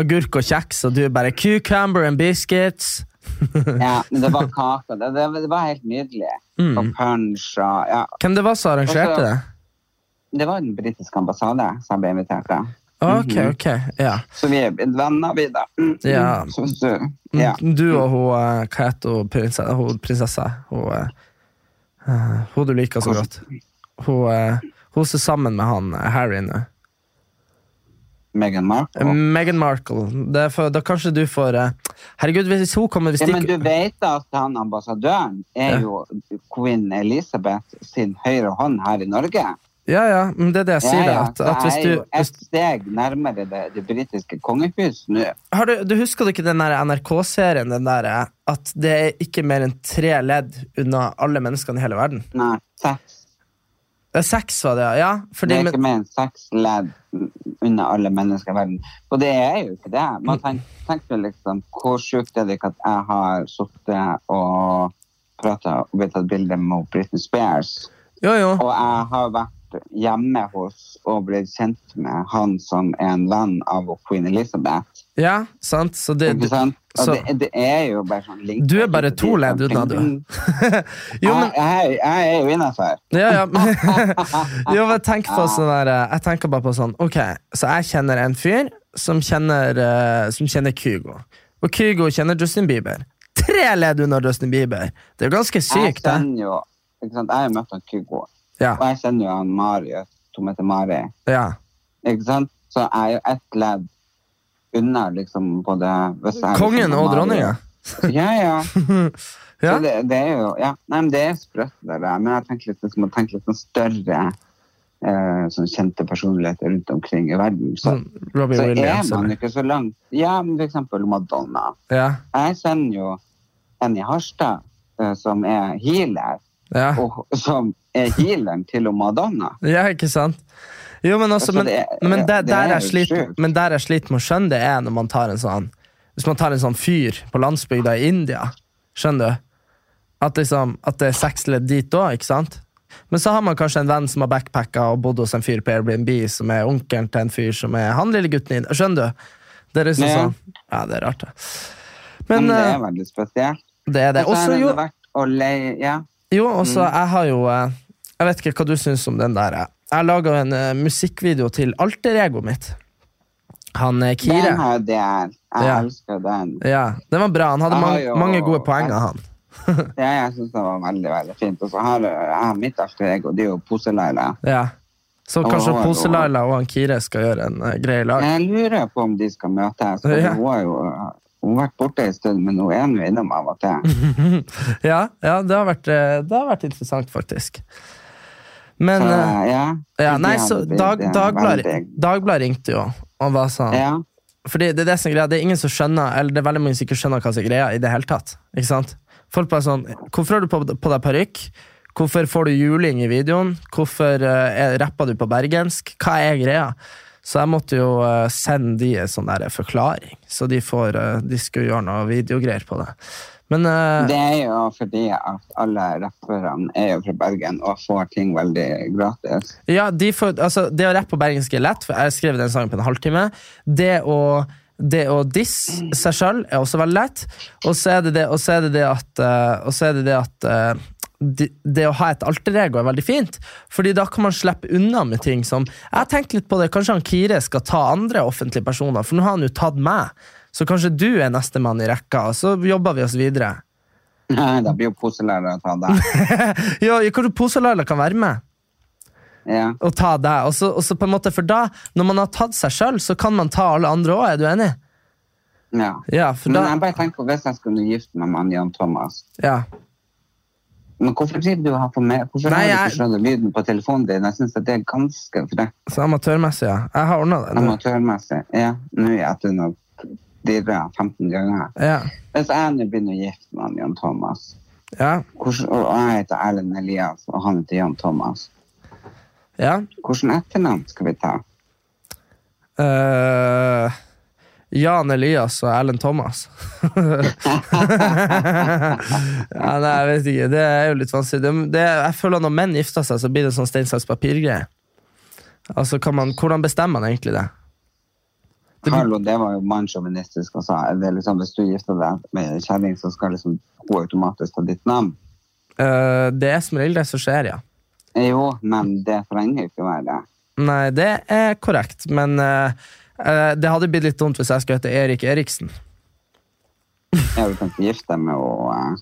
Speaker 2: agurk og kjeks, og du er bare cucumber and biscuits.
Speaker 3: Ja, men det var kake. Det, det, det var helt nydelig.
Speaker 2: Mm.
Speaker 3: Og punch og Ja.
Speaker 2: Hvem det var som arrangerte det?
Speaker 3: Det var den britiske ambassade som ble invitert, da.
Speaker 2: Ah, Ok,
Speaker 3: Mhm.
Speaker 2: ok, ja.
Speaker 3: Så vi er blitt venner, vi, da. Mm, mm.
Speaker 2: Ja.
Speaker 3: Så, så, ja.
Speaker 2: Mm, Du og hun, eh, hva heter hun, prinsessa? Hun, prinsessa, hun, eh, eh, hun du liker så godt. Hun, eh, hun ser sammen med han eh, Harry nå. Eh,
Speaker 3: Meghan Markle.
Speaker 2: Meghan Markle. Det er for, da kanskje du får eh, Herregud, hvis hun kommer hvis
Speaker 3: Ja, men du
Speaker 2: ikke
Speaker 3: vet at han ambassadøren er
Speaker 2: Ja.
Speaker 3: jo queen Elizabeth sin høyre hånd her i Norge.
Speaker 2: Ja, ja, men det er det jeg sier. da, At,
Speaker 3: så
Speaker 2: at hvis
Speaker 3: jeg er
Speaker 2: du,
Speaker 3: jo
Speaker 2: hvis,
Speaker 3: et steg nærmere det, det britiske kongehus nå.
Speaker 2: har du, du Husker du ikke den der NRK-serien? den der, eh, At det er ikke mer enn tre ledd unna alle menneskene i hele verden?
Speaker 3: Nei, seks.
Speaker 2: Det er seks, var det, ja. ja.
Speaker 3: Det
Speaker 2: Fordi,
Speaker 3: er
Speaker 2: men,
Speaker 3: ikke mer enn seks ledd under alle mennesker i verden. Og det er jo ikke det.
Speaker 2: Mm.
Speaker 3: Man tenker, tenker liksom, hvor sjukt er det ikke at jeg har sittet og prata og blitt tatt bilde med Britney Spears?
Speaker 2: jo, jo.
Speaker 3: Og jeg har vært hjemme hos og blitt kjent med han som er en venn av queen Elizabeth.
Speaker 2: Ja, sant? Så det,
Speaker 3: Ikke sant? Og
Speaker 2: så-
Speaker 3: det, det er jo bare sånn link- Mm.
Speaker 2: Du er bare to ledd unna, du. jo, men,
Speaker 3: Jeg, jeg, jeg er jo innafor.
Speaker 2: ja, ja. jo, men tenk på sånn der eh, Jeg tenker bare på sånn Ok, så jeg kjenner en fyr som kjenner, eh, som kjenner Kygo. Og Kygo kjenner Justin Bieber. Tre ledd unna Justin Bieber! Det er jo ganske
Speaker 3: Jeg
Speaker 2: sykt, det.
Speaker 3: kjenner jo ikke sant? Jeg har jo møtt han Kygo,
Speaker 2: Ja,
Speaker 3: og jeg kjenner jo han Marius, som heter Mari.
Speaker 2: ja.
Speaker 3: Ikke sant? Så jeg er jo ett ledd unna liksom både hvis jeg er
Speaker 2: Kongen
Speaker 3: liksom
Speaker 2: og
Speaker 3: Marius.
Speaker 2: dronninga.
Speaker 3: Ja, ja.
Speaker 2: Ja.
Speaker 3: Så det, det er jo ja. Nei, men det er sprøtt, det der. Men jeg tenker litt, liksom, jeg tenker litt sånn større eh, sånn kjente personligheter rundt omkring i verden. Så,
Speaker 2: Sånn Robbie
Speaker 3: så er
Speaker 2: Williams.
Speaker 3: man
Speaker 2: eller-
Speaker 3: ikke så langt. Ja, men for eksempel Madonna.
Speaker 2: Ja,
Speaker 3: Jeg kjenner jo en i Harstad eh, som er healer,
Speaker 2: ja.
Speaker 3: og som er healeren til og Madonna.
Speaker 2: Ja, ikke sant? Jo, men, også,
Speaker 3: Altså,
Speaker 2: men,
Speaker 3: det er-
Speaker 2: men, der,
Speaker 3: det er
Speaker 2: der jeg
Speaker 3: jo
Speaker 2: sliter,
Speaker 3: sjukt.
Speaker 2: men der jeg sliter med å skjønne det, er når man tar en sånn Hvis man tar en sånn fyr på landsbygda i India, skjønner du? At, liksom, at det er seks ledd dit òg, ikke sant? Men så har man kanskje en venn som har backpacka og bodd hos en fyr på Airbnb, som er onkelen til en fyr som er han lille gutten i Skjønner du? Det er liksom
Speaker 3: Ja.
Speaker 2: sånn Ja, det er rart, det. Men,
Speaker 3: Men det
Speaker 2: eh,
Speaker 3: er veldig spesielt.
Speaker 2: det er det.
Speaker 3: Og så
Speaker 2: Også,
Speaker 3: har
Speaker 2: jo,
Speaker 3: det vært å leie Ja.
Speaker 2: jo, og
Speaker 3: Mm.
Speaker 2: så jeg har jo eh, Jeg vet ikke hva du syns om den der. eh. Jeg laga en eh, musikkvideo til alter egoet mitt. Han eh, Kire.
Speaker 3: Den har jeg delt. Jeg
Speaker 2: Ja.
Speaker 3: elsker den.
Speaker 2: Ja, den var bra. Han hadde
Speaker 3: Jeg har
Speaker 2: mange,
Speaker 3: jo-
Speaker 2: mange gode poenger, han.
Speaker 3: Ja, jeg syns det var veldig veldig fint. Og så har jeg, jeg har mitt alter ego, det er jo Pose-Laila.
Speaker 2: Ja. Så
Speaker 3: Ja,
Speaker 2: kanskje
Speaker 3: han var jo-
Speaker 2: Pose-Laila og han Kire skal gjøre en eh, greie i lag.
Speaker 3: Jeg lurer på om de skal møtes. for
Speaker 2: Ja.
Speaker 3: Hun har jo hun har vært borte en stund, men hun er nå innom av og til.
Speaker 2: Ja, ja det, har vært, eh, det har vært interessant, faktisk. Men
Speaker 3: Så,
Speaker 2: eh,
Speaker 3: ja.
Speaker 2: ja,
Speaker 3: de
Speaker 2: Nei,
Speaker 3: hadde
Speaker 2: så
Speaker 3: blitt,
Speaker 2: Dag,
Speaker 3: ja,
Speaker 2: Dagbladet
Speaker 3: veldig-
Speaker 2: Dagbladet ringte jo og var sånn
Speaker 3: Ja.
Speaker 2: Fordi det er det som er greia, det er ingen som skjønner Eller det er veldig mange som ikke skjønner hva som er greia i det hele tatt Ikke sant? Folk bare sånn, hvorfor har du på, på deg parykk? Hvorfor får du juling i videoen? Hvorfor eh, er, rapper du på bergensk? Hva er greia? Så jeg måtte jo eh, sende de en sånn der forklaring Så de får, eh, de skulle gjøre noe videogreier på det Men eh,
Speaker 3: Det er jo fordi at alle rapperne er jo fra Bergen og får ting veldig gratis.
Speaker 2: Ja, de får, altså, det å rappe på bergensk er lett, for jeg har skrevet den sangen på en halvtime. Det å, det å disse seg sjøl er også veldig lett. Og så er det det, og så er det, det at, eh, og så er det, det at eh, de- det å ha et alter ego er veldig fint, Fordi da kan man slippe unna med ting som Jeg har tenkt litt på det, Kanskje han Kire skal ta andre offentlige personer, for nå har han jo tatt meg. Så kanskje du er nestemann i rekka, og så jobber vi oss videre.
Speaker 3: Nei, da blir jo poselærere å ta deg.
Speaker 2: Ja, kanskje Posa-Laila kan være med?
Speaker 3: Ja.
Speaker 2: å ta deg. Og så, og så på en måte, for da, når man har tatt seg sjøl, så kan man ta alle andre òg, er du enig?
Speaker 3: ja.
Speaker 2: Ja, for
Speaker 3: Men
Speaker 2: da
Speaker 3: jeg bare tenker på hvis jeg skulle gifte meg med han Jan Thomas,
Speaker 2: ja.
Speaker 3: Men hvorfor driver du og har på med Hvorfor
Speaker 2: Nei,
Speaker 3: har du
Speaker 2: jeg-
Speaker 3: ikke slått av lyden på telefonen din? Jeg syns at det er ganske for det
Speaker 2: Så amatørmessig, ja. Jeg har ordna det. nå.
Speaker 3: amatørmessig. Ja, nå er jeg etter noe dirre 15 ganger her.
Speaker 2: Ja.
Speaker 3: Hvis jeg nå begynner å gifte meg med Jan Thomas
Speaker 2: Ja.
Speaker 3: hvordan, Og jeg heter Erlend Elias, og han heter Jan Thomas.
Speaker 2: ja.
Speaker 3: Hvordan etternavn skal vi ta?
Speaker 2: Eh, Jan Elias og Ellen Thomas. ja, nei, jeg vet ikke. Det er jo litt vanskelig. Det, det, jeg føler at Når menn gifter seg, så blir det sånn stein, saks, papir-greie. Altså, kan man, hvordan bestemmer man egentlig det?
Speaker 3: Hallo, det var jo mannssjåvinistisk og sa det er liksom, hvis du gifter deg med en kjerring, så skal liksom hun automatisk ta ditt navn.
Speaker 2: Eh, det er som regel det som skjer, ja.
Speaker 3: Eh, Jo, men det trenger jo ikke være det.
Speaker 2: Nei, det er korrekt, men eh, eh, det hadde blitt litt dumt hvis jeg skulle hete Erik Eriksen.
Speaker 3: Ja, du kan ikke gifte deg med henne.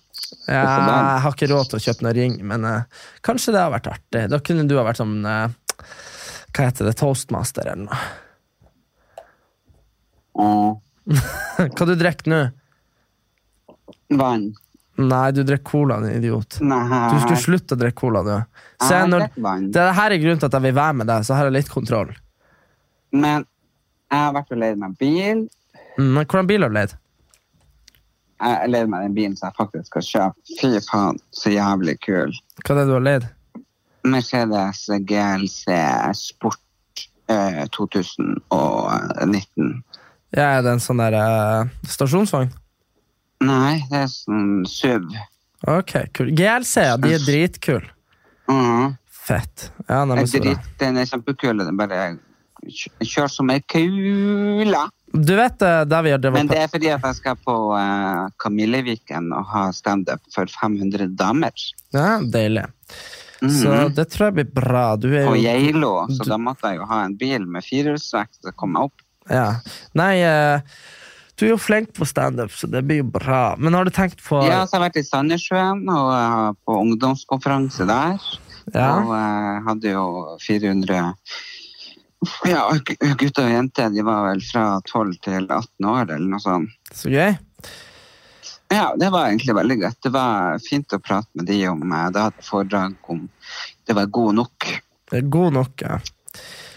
Speaker 3: eh,
Speaker 2: Ja,
Speaker 3: så da-
Speaker 2: jeg har ikke råd til å kjøpe noen ring, men eh, kanskje det har vært artig. Da kunne du ha vært sånn eh, Hva heter det? Toastmaster eller noe.
Speaker 3: Og
Speaker 2: Hva du drikker nå?
Speaker 3: vann.
Speaker 2: Nei, du drikker cola, din idiot.
Speaker 3: Nei.
Speaker 2: Du skulle slutte å drikke cola, du. Se,
Speaker 3: Jeg
Speaker 2: når,
Speaker 3: drikker vann.
Speaker 2: det her er grunnen til at jeg vil være med deg, så her er litt kontroll.
Speaker 3: Men jeg har vært og leid meg bil.
Speaker 2: Mm, men hvordan bil har du leid?
Speaker 3: Jeg har leid meg den bilen som jeg faktisk skal kjøpe. Fy faen, så jævlig kul.
Speaker 2: Hva er det du har leid?
Speaker 3: Mercedes GLC Sport eh, 2019.
Speaker 2: Jeg er det en sånn der eh, stasjonsvogn?
Speaker 3: Nei, det er sånn SUV.
Speaker 2: Ok, kul. GLC, ja, de er dritkule.
Speaker 3: Mhm.
Speaker 2: Fett. Ja, nei, men
Speaker 3: Jeg
Speaker 2: så bra.
Speaker 3: dritt, den er kjempekul. Den bare kjø- kjør som ei kule.
Speaker 2: Du vet eh, der vi har drevet
Speaker 3: Men det er fordi at jeg skal på eh, Kamilleviken og ha standup for 500 damer.
Speaker 2: Ja, deilig. Så
Speaker 3: Mhm.
Speaker 2: det tror jeg blir bra. Du er
Speaker 3: På
Speaker 2: jo
Speaker 3: Geilo, så da måtte jeg jo ha en bil med firehjulstrekk til å komme opp.
Speaker 2: ja. Nei, eh, du er jo flink på standup, så det blir jo bra. Men har du tenkt på
Speaker 3: Ja, så har jeg vært i Sandnessjøen og eh, på ungdomskonferanse der.
Speaker 2: Ja.
Speaker 3: Og eh, hadde jo 400 ja, gu- gutter og jenter. De var vel fra 12 til 18 år eller noe sånt.
Speaker 2: Så gøy.
Speaker 3: Ja, det var egentlig veldig godt. Det var fint å prate med de om eh, Det hadde foredrag om det var god nok.
Speaker 2: Det er god nok. Ja.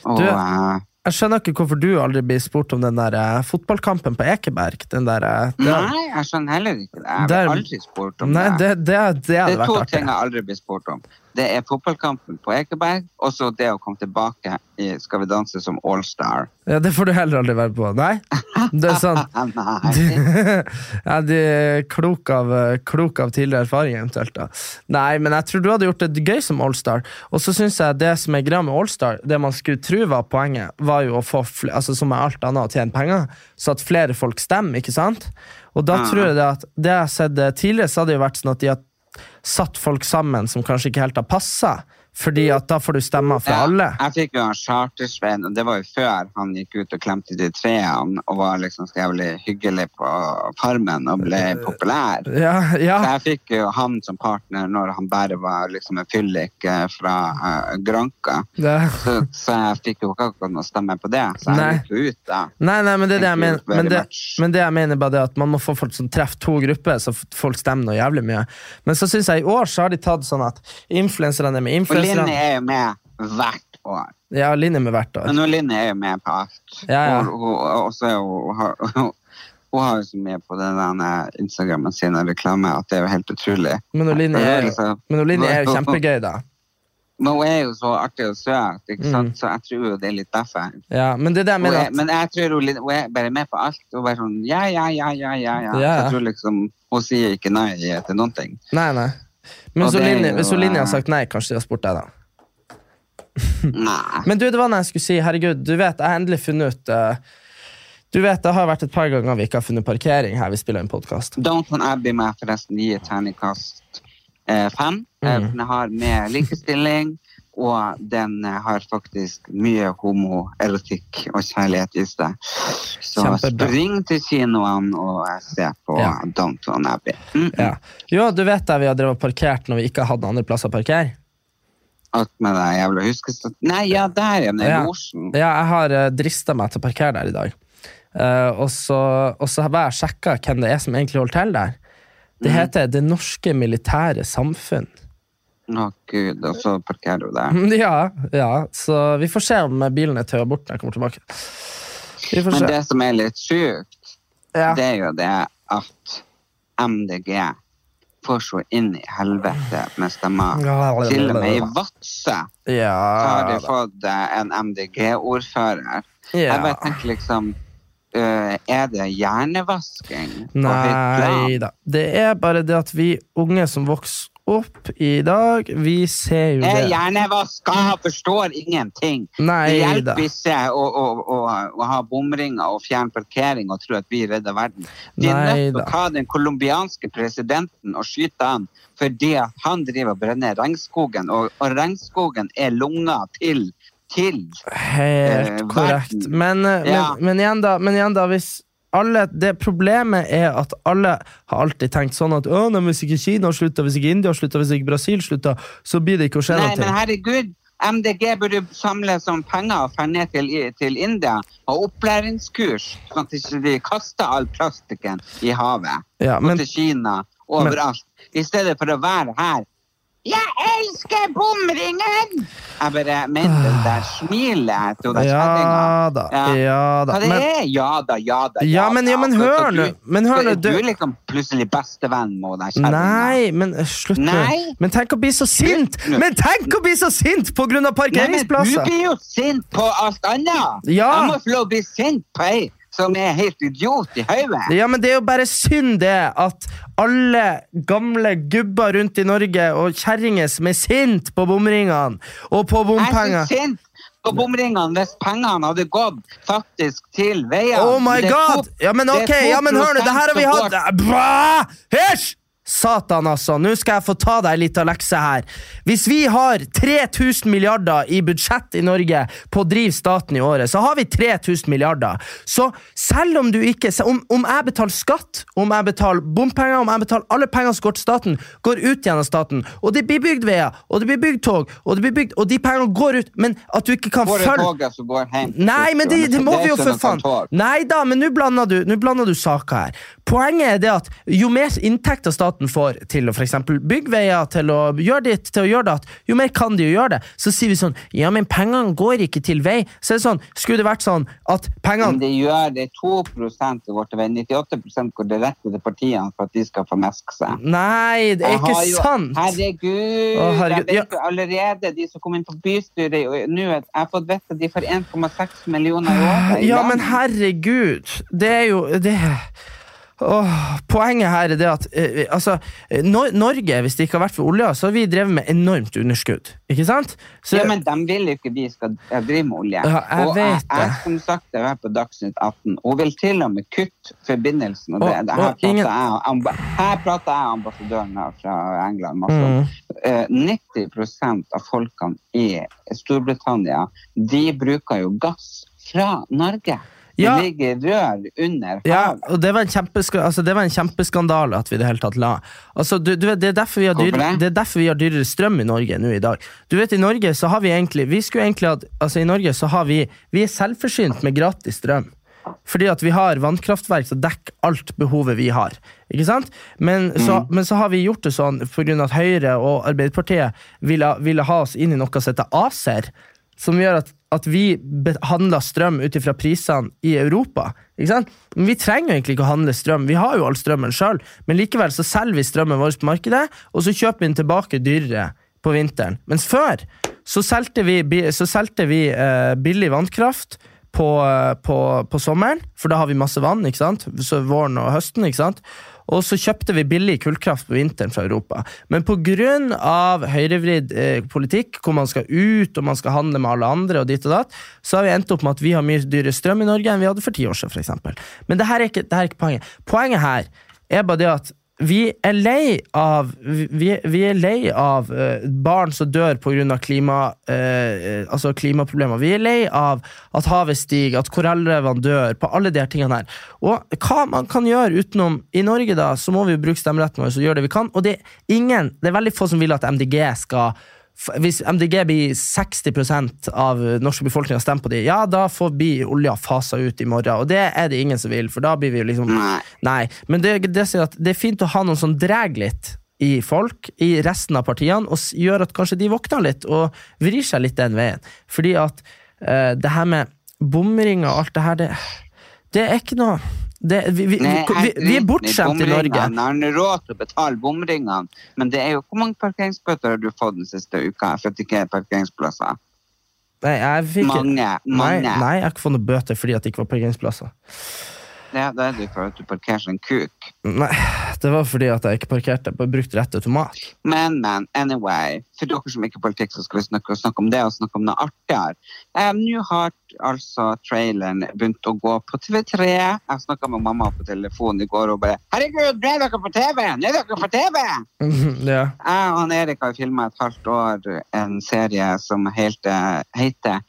Speaker 3: Og
Speaker 2: Du-
Speaker 3: eh,
Speaker 2: Jeg skjønner ikke hvorfor du aldri blir spurt om den der eh, fotballkampen på Ekeberg. Den der, eh, det-
Speaker 3: Nei, jeg skjønner heller ikke det. Jeg
Speaker 2: Der-
Speaker 3: har aldri spurt om
Speaker 2: Nei, det, det, det
Speaker 3: Det
Speaker 2: hadde
Speaker 3: er to
Speaker 2: vært artig.
Speaker 3: ting jeg aldri blir spurt om. Det er fotballkampen på Ekeberg, og så det å komme tilbake i Skal vi danse som Allstar.
Speaker 2: Ja, det får du heller aldri være på. Nei, det er sånn- sant.
Speaker 3: Ah, nei.
Speaker 2: ja, de er klok, av, klok av tidligere erfaring, eventuelt. Da. Nei, men jeg tror du hadde gjort det gøy som Allstar. Og så syns jeg det som er greia med Allstar, det man skulle tro var poenget, var jo å få fl- altså, som med alt annet, å tjene penger, så at flere folk stemmer, ikke sant? Og da tror jeg det at det jeg har sett eh, tidligere, så hadde det jo vært sånn at de har satt folk sammen som kanskje ikke helt har passa, fordi at da får du stemmer fra
Speaker 3: Ja,
Speaker 2: alle.
Speaker 3: Jeg fikk jo en chartersvenn, og det var jo før han gikk ut og klemte de trærne og var liksom så jævlig hyggelig på Farmen og ble populær.
Speaker 2: Eh, Ja, ja.
Speaker 3: Så jeg fikk jo han som partner når han bare var liksom en fyllik eh, fra eh, Granka.
Speaker 2: Det.
Speaker 3: Så, så jeg fikk jo ikke akkurat noe stemme på det, så jeg
Speaker 2: Nei.
Speaker 3: gikk jo ut da.
Speaker 2: Nei, nei, men det, er det jeg
Speaker 3: Thank
Speaker 2: mener,
Speaker 3: you very
Speaker 2: men det,
Speaker 3: much.
Speaker 2: men det jeg mener bare det at man må få folk som treffer to grupper, så f- folk stemmer noe jævlig mye. Men så syns jeg i år så har de tatt sånn at influenserne er med
Speaker 3: Og Linni
Speaker 2: influenserne.
Speaker 3: er jo med hvert år.
Speaker 2: Ja, Linni med hvert år.
Speaker 3: Men hun Linni er jo med på alt.
Speaker 2: Ja, ja.
Speaker 3: Hun, hun, og så er hun, har, hun, hun har jo så mye på den der eh, Instagrammen sin og reklame at det er jo helt utrolig.
Speaker 2: Men hun Linni er, jo- men hun Linni er
Speaker 3: sånn.
Speaker 2: jo kjempegøy, da.
Speaker 3: liksom- Men hun er jo så artig og søt, ikke sant? så jeg tror jo det er litt derfor.
Speaker 2: Ja, men det er det Mm. jeg
Speaker 3: Hun
Speaker 2: mener
Speaker 3: er,
Speaker 2: at
Speaker 3: men jeg tror hun, Lin- hun er bare med på alt. Hun er bare sånn ja, ja, ja, ja, ja. ja.
Speaker 2: Ja, ja.
Speaker 3: Jeg tror liksom hun sier ikke nei til noen ting.
Speaker 2: Nei, nei. Men
Speaker 3: Og
Speaker 2: så
Speaker 3: det er
Speaker 2: Linni,
Speaker 3: jo,
Speaker 2: hvis hun Linni har
Speaker 3: eh,
Speaker 2: sagt nei, kanskje de har spurt deg, da. Hm.
Speaker 3: Nei.
Speaker 2: Men du, det var noe jeg skulle si. Herregud, du vet, jeg har endelig funnet ut eh, Du vet, det har vært et par ganger vi ikke har funnet parkering her vi spiller en podkast.
Speaker 3: Downton Abbey må jeg forresten gi et terningkast eh, fem.
Speaker 2: Mm.
Speaker 3: Eh, Den har med likestilling, og den eh, har faktisk mye homoerotikk og kjærlighet i seg. Så
Speaker 2: Kjempebra.
Speaker 3: spring til kinoene og eh, se på
Speaker 2: Ja.
Speaker 3: Downton Abbey. Mm.
Speaker 2: Ja. Jo, du vet der vi har drevet og parkert når vi ikke hadde andre plasser å parkere?
Speaker 3: Alt med det jævla huskestøtten. Nei, ja, der er den
Speaker 2: Ja.
Speaker 3: i losjen.
Speaker 2: Ja, jeg har uh, drista meg til å parkere der i dag. Eh, og, så, og så har jeg
Speaker 3: Mhm.
Speaker 2: sjekka hvem det er som egentlig holder til der. Det heter Det norske militære samfunn.
Speaker 3: Å gud, og så parkerer hun
Speaker 2: Mm,
Speaker 3: der.
Speaker 2: Ja, ja, så vi får se om bilen er tøya bort når jeg kommer tilbake. Vi får
Speaker 3: Men
Speaker 2: se.
Speaker 3: det som er litt sjukt,
Speaker 2: Ja.
Speaker 3: det er jo det at MDG får så inn i helvete med stemmer.
Speaker 2: Ja, ja,
Speaker 3: Til og med i
Speaker 2: ja, ja.
Speaker 3: Vadsø har
Speaker 2: Ja,
Speaker 3: de fått eh, en MDG-ordfører. Jeg bare
Speaker 2: ja.
Speaker 3: tenker liksom øh, Er det hjernevasking? på høyt plan?
Speaker 2: Nei da. Det er bare det at vi unge som vokser opp i dag, vi ser jo
Speaker 3: Jeg er
Speaker 2: det.
Speaker 3: hjernevaska, forstår ingenting. Det
Speaker 2: Nei da.
Speaker 3: hjelper ikke å, å, å, å ha bomringer og fjerne parkering og tro at vi redder verden. De er nødt til
Speaker 2: Neida.
Speaker 3: å ta den colombianske presidenten og skyte han fordi at han driver og brenner regnskogen, og, og regnskogen er lunga til til.
Speaker 2: Helt
Speaker 3: eh,
Speaker 2: korrekt.
Speaker 3: verden.
Speaker 2: Men, eh,
Speaker 3: Ja.
Speaker 2: men, men, igjen da, men igjen da, hvis alle, det problemet er at alle har alltid tenkt sånn at «Å, nei, hvis ikke Kina slutter, hvis ikke India slutter, hvis ikke Brasil slutter, så blir det ikke å skje
Speaker 3: Nei,
Speaker 2: noe.
Speaker 3: men herregud, MDG burde samle som penger og dra ned til, i- til India og opplæringskurs, sånn at ikke de ikke kaster all plastikken i havet.
Speaker 2: Ja, men-
Speaker 3: og til Kina, overalt. I stedet for å være her. Jeg elsker bomringen! Jeg bare mener det der smilet til den kjerringa.
Speaker 2: Ja da, ja da.
Speaker 3: Hva det
Speaker 2: Men,
Speaker 3: er? Ja da, ja da.
Speaker 2: Ja, men- ja, men
Speaker 3: da.
Speaker 2: hør
Speaker 3: Så du-
Speaker 2: nå, men hør
Speaker 3: så
Speaker 2: nå,
Speaker 3: er
Speaker 2: du-
Speaker 3: Du er liksom plutselig bestevenn med den kjerringa.
Speaker 2: nei, men eh, slutt nå.
Speaker 3: Nei.
Speaker 2: Men tenk å bli så sint!
Speaker 3: nå.
Speaker 2: Men tenk å bli så sint på grunn av
Speaker 3: Nei, men du
Speaker 2: parkeringsplasser!
Speaker 3: blir jo sint på alt annet.
Speaker 2: Ja.
Speaker 3: Jeg må få lov å bli sint på ei som er helt idiot i hodet.
Speaker 2: Ja, men det er jo bare synd det at alle gamle gubber rundt i Norge og kjerringer som er sint på bomringene og på
Speaker 3: Jeg er så
Speaker 2: bompenger
Speaker 3: sint på bomringene hvis pengene hadde gått faktisk til veiene.
Speaker 2: Oh my
Speaker 3: Det er to-
Speaker 2: god! Ja, men
Speaker 3: det er
Speaker 2: ok,
Speaker 3: to
Speaker 2: ja, men hør nå, det her har vi
Speaker 3: prosent som
Speaker 2: hatt Bra! Hysj! Satan, altså. Nå skal jeg få ta deg litt av lekse her. Hvis vi har 3000 milliarder i budsjett i Norge på å drive staten i året, så har vi 3000 milliarder. Så selv om du ikke se- om, om jeg betaler skatt, om jeg betaler bompenger, om jeg betaler alle pengene som går til staten, går ut igjen av staten, og det blir bygd veier, og det blir bygd tog, og det blir bygd, og de pengene går ut, men at du ikke kan
Speaker 3: går- Går det
Speaker 2: følge
Speaker 3: toget som går hjem?
Speaker 2: Nei, men det, det må vi jo for faen Nei da, men nå blander du, nå blander du saka her. Poenget er det at jo mer inntekter staten får til å for eksempel bygge veier, til å gjøre ditt, til å gjøre datt, jo mer kan de jo gjøre det. Så sier vi sånn Ja, men pengene går ikke til vei. Så er det sånn, skulle det vært sånn at
Speaker 3: Men
Speaker 2: pengene
Speaker 3: det gjør det 2 som går til vei. 98 går direkte til partiene for at de skal formeske seg.
Speaker 2: Nei, det er
Speaker 3: Jeg har
Speaker 2: ikke
Speaker 3: jo-
Speaker 2: sant!
Speaker 3: Herregud,
Speaker 2: Å, herregud,
Speaker 3: jeg vet jo allerede de som kom inn på bystyret i- nå, at jeg har fått vite at de får 1,6 millioner i året. i
Speaker 2: Ja,
Speaker 3: lønn.
Speaker 2: men herregud! Det er jo det Åh, poenget her er det at eh, altså, eh, Nor Norge, hvis det ikke har vært for olja, så har vi drevet med enormt underskudd. Ikke sant? Så,
Speaker 3: ja, men de vil jo ikke vi skal drive med olje.
Speaker 2: Ja, jeg
Speaker 3: og
Speaker 2: vet
Speaker 3: jeg, jeg,
Speaker 2: det.
Speaker 3: som sagt, jeg var på Dagsnytt 18. Hun vil til og med kutte forbindelsen. Og det,
Speaker 2: Og-
Speaker 3: det her,
Speaker 2: og
Speaker 3: prater
Speaker 2: ingen-
Speaker 3: jeg, og amba- her prater jeg og ambassadøren her fra England masse om.
Speaker 2: Mm.
Speaker 3: Eh, 90 av folkene i Storbritannia, de bruker jo gass fra Norge. Det
Speaker 2: Ja.
Speaker 3: ligger rør under
Speaker 2: ja,
Speaker 3: havet.
Speaker 2: og det var, en kjempeska- altså, det var en kjempeskandale at vi i det hele tatt la altså, du, du vet, det, er derfor vi har
Speaker 3: Hvorfor
Speaker 2: dyrere,
Speaker 3: det?
Speaker 2: det er derfor vi har dyrere strøm i Norge nå i dag. Du vet, I Norge så har vi egentlig Vi skulle egentlig hatt Altså, i Norge så har vi Vi er selvforsynt med gratis strøm. Fordi at vi har vannkraftverk som dekker alt behovet vi har. Ikke sant? Men så,
Speaker 3: Mm.
Speaker 2: men så har vi gjort det sånn pga. at Høyre og Arbeiderpartiet ville, ville ha oss inn i noe som heter E ACER, som gjør at, at vi behandler strøm ut ifra prisene i Europa. Ikke sant? Men vi trenger jo egentlig ikke å handle strøm, vi har jo all strømmen sjøl, men likevel så selger vi strømmen vår på markedet, og så kjøper vi den tilbake dyrere på vinteren. Mens før så solgte vi, bi- så solgte vi eh, billig vannkraft på, eh, på, på sommeren, for da har vi masse vann, ikke sant? Så våren og høsten, ikke sant? Og så kjøpte vi billig kullkraft på vinteren fra Europa. Men pga. høyrevridd eh, politikk, hvor man skal ut og man skal handle med alle andre, og dit og datt, så har vi endt opp med at vi har mye dyrere strøm i Norge enn vi hadde for ti år siden. For eksempel. Men det her, er ikke, det her er ikke poenget. Poenget her er bare det at vi er lei av, vi, vi er lei av eh, barn som dør pga. Klima, eh, altså klimaproblemer. Vi er lei av at havet stiger, at korallrevene dør, på alle de her tingene her. Og hva man kan gjøre utenom I Norge da, så må vi jo bruke stemmeretten vår og gjøre det vi kan. Og det er ingen, det er veldig få som vil at MDG skal f- hvis MDG blir 60 av norske befolkninga stemmer på de, ja, da får bli olja fasa ut i morgen. Og det er det ingen som vil, for da blir vi jo liksom
Speaker 3: Nei.
Speaker 2: Nei, men det, det, sier at det er fint å ha noen som drar litt i folk, i resten av partiene, og s- gjør at kanskje de våkner litt og vrir seg litt den veien. Fordi at eh, det her med bomringer og alt det her, det, det er ikke noe det, vi, vi, vi,
Speaker 3: Nei,
Speaker 2: vi, vi er
Speaker 3: driter
Speaker 2: bortskjemt i Norge.
Speaker 3: bomringene. Har han råd til å betale bomringene? Men det er jo hvor mange parkeringsbøter har du fått den siste uka for at det ikke er parkeringsplasser?
Speaker 2: Nei, jeg fikk,
Speaker 3: Mange.
Speaker 2: Nei,
Speaker 3: mange.
Speaker 2: nei, jeg har ikke fått noen bøter fordi at det ikke var parkeringsplasser.
Speaker 3: Ja, det er det for at du parkerer som en kuk.
Speaker 2: Nei, det var fordi at jeg ikke parkerte på brukt rett automat.
Speaker 3: Men, men, anyway. For dere som ikke er politikk, så skal vi snakke, snakke om det, og snakke om noe artigere. Eh, Nå har altså traileren begynt å gå på TV3. Jeg snakka med mamma på telefonen i går og bare 'Herregud, ble dere på TV? Nå er dere på TV!'
Speaker 2: ja.
Speaker 3: Jeg og han Erik har filma et halvt år en serie som helt, eh, heter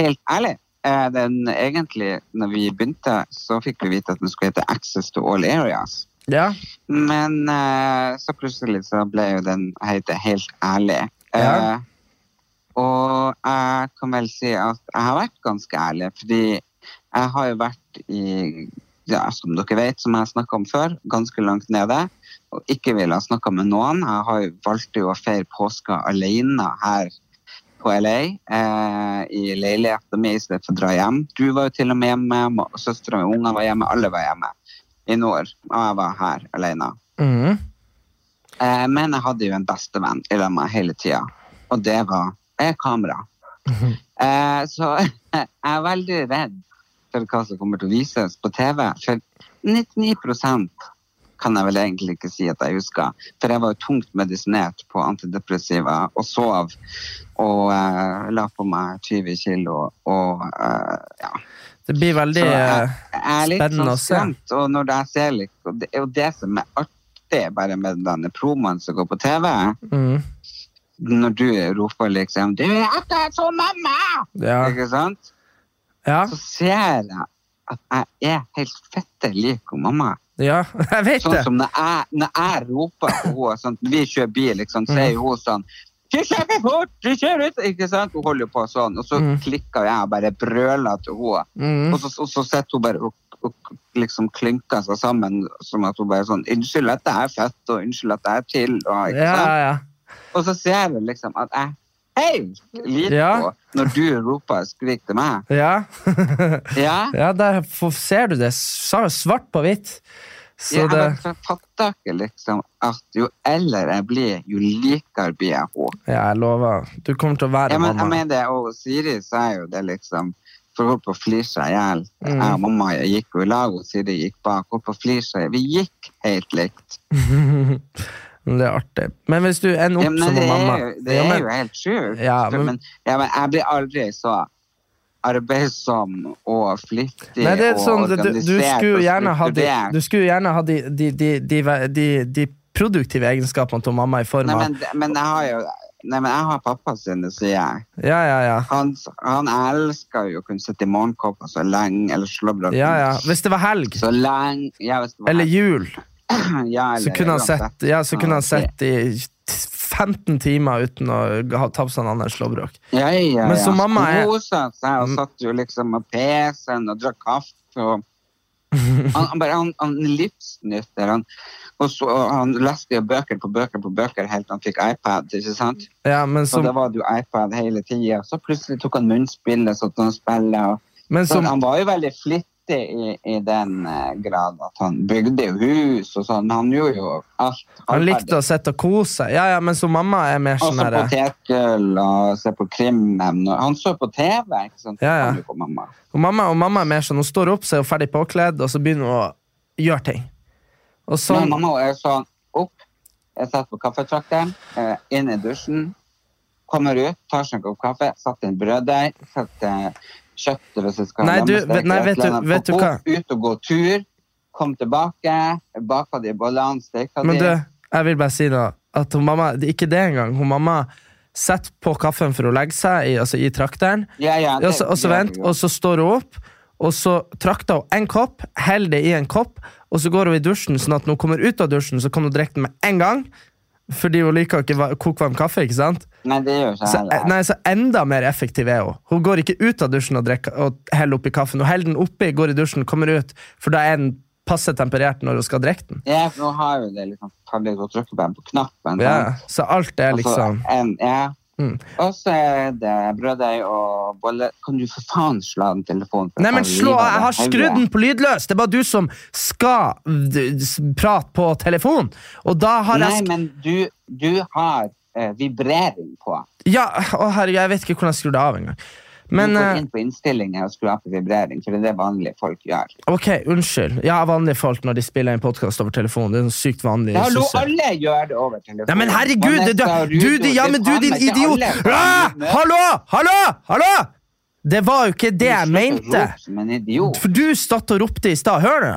Speaker 3: Helt ærlig. Eh, Den egentlig, når vi begynte, så fikk vi vite at den skulle hete Access to all areas.
Speaker 2: ja.
Speaker 3: Men eh, så plutselig så ble jo den heite helt ærlig. Eh,
Speaker 2: Ja.
Speaker 3: og jeg kan vel si at jeg har vært ganske ærlig, fordi jeg har jo vært i ja, som dere vet, som jeg har snakka om før, ganske langt nede. Og ikke ville ha snakka med noen. Jeg har jo valgte jo å feire påska alene her på LA, eh, i leiligheten min i stedet for å dra hjem. Du var jo til og med hjemme, søstera mi og ungene var hjemme, alle var hjemme i nord, og jeg var her alene.
Speaker 2: Mhm.
Speaker 3: Eh, men jeg hadde jo en bestevenn i lag med hele tida, og det var eh, kamera. Eh, så jeg er veldig redd for hva som kommer til å vises på TV. For 99 kan jeg vel egentlig ikke si at jeg husker. For jeg var jo tungt medisinert på antidepressiva og sov. Og eh, la på meg 20 kilo og eh, ja.
Speaker 2: Det blir veldig
Speaker 3: Så jeg,
Speaker 2: eh,
Speaker 3: jeg er litt
Speaker 2: spennende å
Speaker 3: sånn
Speaker 2: se.
Speaker 3: skremt, og når jeg ser litt, og det er jo det som er artig bare med denne promoen som går på TV,
Speaker 2: mhm.
Speaker 3: når du roper liksom Du er akkurat som mamma!
Speaker 2: ja.
Speaker 3: Ikke sant?
Speaker 2: ja.
Speaker 3: Så ser jeg at jeg er helt fette lik hun mamma.
Speaker 2: Ja, jeg vet
Speaker 3: Sånn
Speaker 2: det!
Speaker 3: som når jeg, når jeg roper på henne, sånn, vi kjører bil, liksom, så er jo hun sånn du kjører fort! Du kjører ut! Ikke sant? Hun holder jo på sånn. Og så
Speaker 2: Mm.
Speaker 3: klikker jeg og bare brøler til henne.
Speaker 2: Mm.
Speaker 3: Og så, og så sitter hun bare og, og liksom klynker seg sammen som at hun bare sånn Unnskyld at jeg er født, og unnskyld at jeg er til, og ikke
Speaker 2: Ja,
Speaker 3: sant?
Speaker 2: ja,
Speaker 3: Og så ser jeg liksom at jeg helt liker
Speaker 2: Ja.
Speaker 3: henne når du roper og skriker til meg.
Speaker 2: ja.
Speaker 3: Ja.
Speaker 2: ja, der f- ser du det. Sa jo svart på hvitt. Så
Speaker 3: jeg
Speaker 2: det
Speaker 3: bare fatter ikke liksom at jo eldre jeg blir, jo likere blir jeg henne.
Speaker 2: Ja, jeg lover. Du kommer til å være
Speaker 3: Ja, men, jeg
Speaker 2: mamma.
Speaker 3: mener det, og Siri sa jo det liksom For hun holdt på å flire seg i hjel.
Speaker 2: Mm.
Speaker 3: Jeg og mamma gikk jo i lag, og Siri gikk bak. Holdt på å flire seg. Vi gikk helt likt.
Speaker 2: Men det er artig. Men hvis du ender
Speaker 3: Ja,
Speaker 2: opp
Speaker 3: men
Speaker 2: som
Speaker 3: det
Speaker 2: en mamma
Speaker 3: er jo, det
Speaker 2: ja,
Speaker 3: er
Speaker 2: men-
Speaker 3: jo helt sjukt.
Speaker 2: Ja,
Speaker 3: men,
Speaker 2: men-
Speaker 3: ja, men jeg blir aldri så arbeidsom og flittig
Speaker 2: Nei, det er
Speaker 3: og
Speaker 2: sånn, du, du
Speaker 3: organisert
Speaker 2: skulle jo
Speaker 3: og
Speaker 2: gjerne ha de,
Speaker 3: strukturert.
Speaker 2: du skulle jo gjerne ha de, de, de, de, de, de produktive egenskapene til mamma i form
Speaker 3: Nei,
Speaker 2: av
Speaker 3: men, men jeg har jo Nei, men jeg har pappa sine, sier jeg.
Speaker 2: Ja, ja, ja.
Speaker 3: Han, han elsker jo å kunne sitte i morgenkåpa så lenge, eller slåbrok.
Speaker 2: ja, ja. Hvis det var helg
Speaker 3: Så lenge ja, hvis det var-
Speaker 2: eller jul,
Speaker 3: ja,
Speaker 2: så
Speaker 3: eller
Speaker 2: kunne han
Speaker 3: uansett.
Speaker 2: sett, ja, så kunne han
Speaker 3: Ja, det-
Speaker 2: sett i 15 timer uten å ha sånn tapsa en annen slåbrok.
Speaker 3: Ja, ja,
Speaker 2: Men
Speaker 3: ja.
Speaker 2: så mamma er- Mm.
Speaker 3: Kosa seg og satt jo liksom med PC-en og drakk kaffe og han, han bare, han, han livsnytter. Han, og så, og han leste jo bøker på bøker på bøker helt til han fikk iPad. ikke sant?
Speaker 2: Ja, men
Speaker 3: Så da
Speaker 2: som,
Speaker 3: var det jo iPad hele tida. Så plutselig tok han munnspillet, så han spiller. og-
Speaker 2: men
Speaker 3: Så
Speaker 2: som
Speaker 3: han var jo veldig flittig i, i den eh, grad at han bygde jo hus og sånn. Han gjorde jo alt.
Speaker 2: Han likte å sitte og kose seg. Ja, ja, men som mamma er mer
Speaker 3: Og
Speaker 2: sånn
Speaker 3: så
Speaker 2: her
Speaker 3: potetgull og se på krimnemnd. Han så på TV, ikke sant?
Speaker 2: Ja, ja.
Speaker 3: Han jo på mamma.
Speaker 2: og mamma, og mamma er mer sånn, hun står opp, så er hun ferdig påkledd, og så begynner hun å gjøre ting. Og
Speaker 3: Men
Speaker 2: sånn,
Speaker 3: mamma er sånn opp, jeg satt på kaffetrakteren, eh, inn i dusjen, kommer ut, tar seg en kopp kaffe, satt en brøddeig, satt eh, kjøtt eller så skal
Speaker 2: Nei, du,
Speaker 3: lammestek,
Speaker 2: vet- nei, vet du-
Speaker 3: et eller annet
Speaker 2: vet du
Speaker 3: på
Speaker 2: hva?
Speaker 3: bok, Ut og gå tur, kom tilbake, baka de bollene, steka de.
Speaker 2: men du, jeg vil bare si noe. At hun mamma, det er ikke det engang. Hun mamma setter på kaffen for å legge seg i, altså i trakteren,
Speaker 3: ja, ja,
Speaker 2: og så, og så
Speaker 3: gjør
Speaker 2: vent,
Speaker 3: du jo.
Speaker 2: og så står hun opp, og så trakter hun en kopp, heller det i en kopp, og så går hun i dusjen, sånn at når hun kommer ut av dusjen, så kan hun drikke den med en gang, fordi hun liker ikke va- kokvarm kaffe, ikke sant?
Speaker 3: Nei, det gjør ikke
Speaker 2: Så,
Speaker 3: jeg heller.
Speaker 2: nei, så enda mer effektiv er hun. Hun går ikke ut av dusjen og, drikker, og heller oppi kaffen. Hun heller den oppi, går i dusjen, kommer ut, for da er den passe temperert når hun skal drikke den.
Speaker 3: Ja, for nå har jo det liksom veldig godt trykkeband på knappen.
Speaker 2: Ja,
Speaker 3: sant?
Speaker 2: så alt er
Speaker 3: Og så
Speaker 2: liksom
Speaker 3: Altså, en, ja.
Speaker 2: Mm.
Speaker 3: Og så er det brøddeig og bolle. Kan du for faen slå av den telefonen? for
Speaker 2: Nei, men
Speaker 3: faen,
Speaker 2: slå
Speaker 3: livet
Speaker 2: av!
Speaker 3: av
Speaker 2: Jeg har
Speaker 3: helvete.
Speaker 2: skrudd den på lydløs! Det er bare du som skal d- s- prate på telefon. Og da har jeg
Speaker 3: Nei,
Speaker 2: sk-
Speaker 3: men du, du har eh, vibrering på.
Speaker 2: Ja, å herregud, jeg vet ikke hvordan jeg skrur det av engang. Men
Speaker 3: du
Speaker 2: eh,
Speaker 3: går inn på innstillinger og skrur av på vibrering, for det er det vanlige folk gjør.
Speaker 2: ok, unnskyld. Ja, vanlige folk når de spiller en podkast over telefon. Det er sånn sykt vanlig.
Speaker 3: Ja, hallo,
Speaker 2: syssel.
Speaker 3: alle gjør det over telefonen.
Speaker 2: Nei, men herregud!
Speaker 3: Vanessa
Speaker 2: Du,
Speaker 3: og
Speaker 2: du,
Speaker 3: Rudo,
Speaker 2: du, ja,
Speaker 3: det
Speaker 2: men du,
Speaker 3: faen
Speaker 2: din
Speaker 3: meg ikke
Speaker 2: idiot!
Speaker 3: alle.
Speaker 2: Ah,
Speaker 3: Du
Speaker 2: hallo! Hallo! Hallo! Det var jo ikke det jeg
Speaker 3: slutter å
Speaker 2: mente.
Speaker 3: rope Som en idiot.
Speaker 2: For du stod og ropte i stad, hør nå.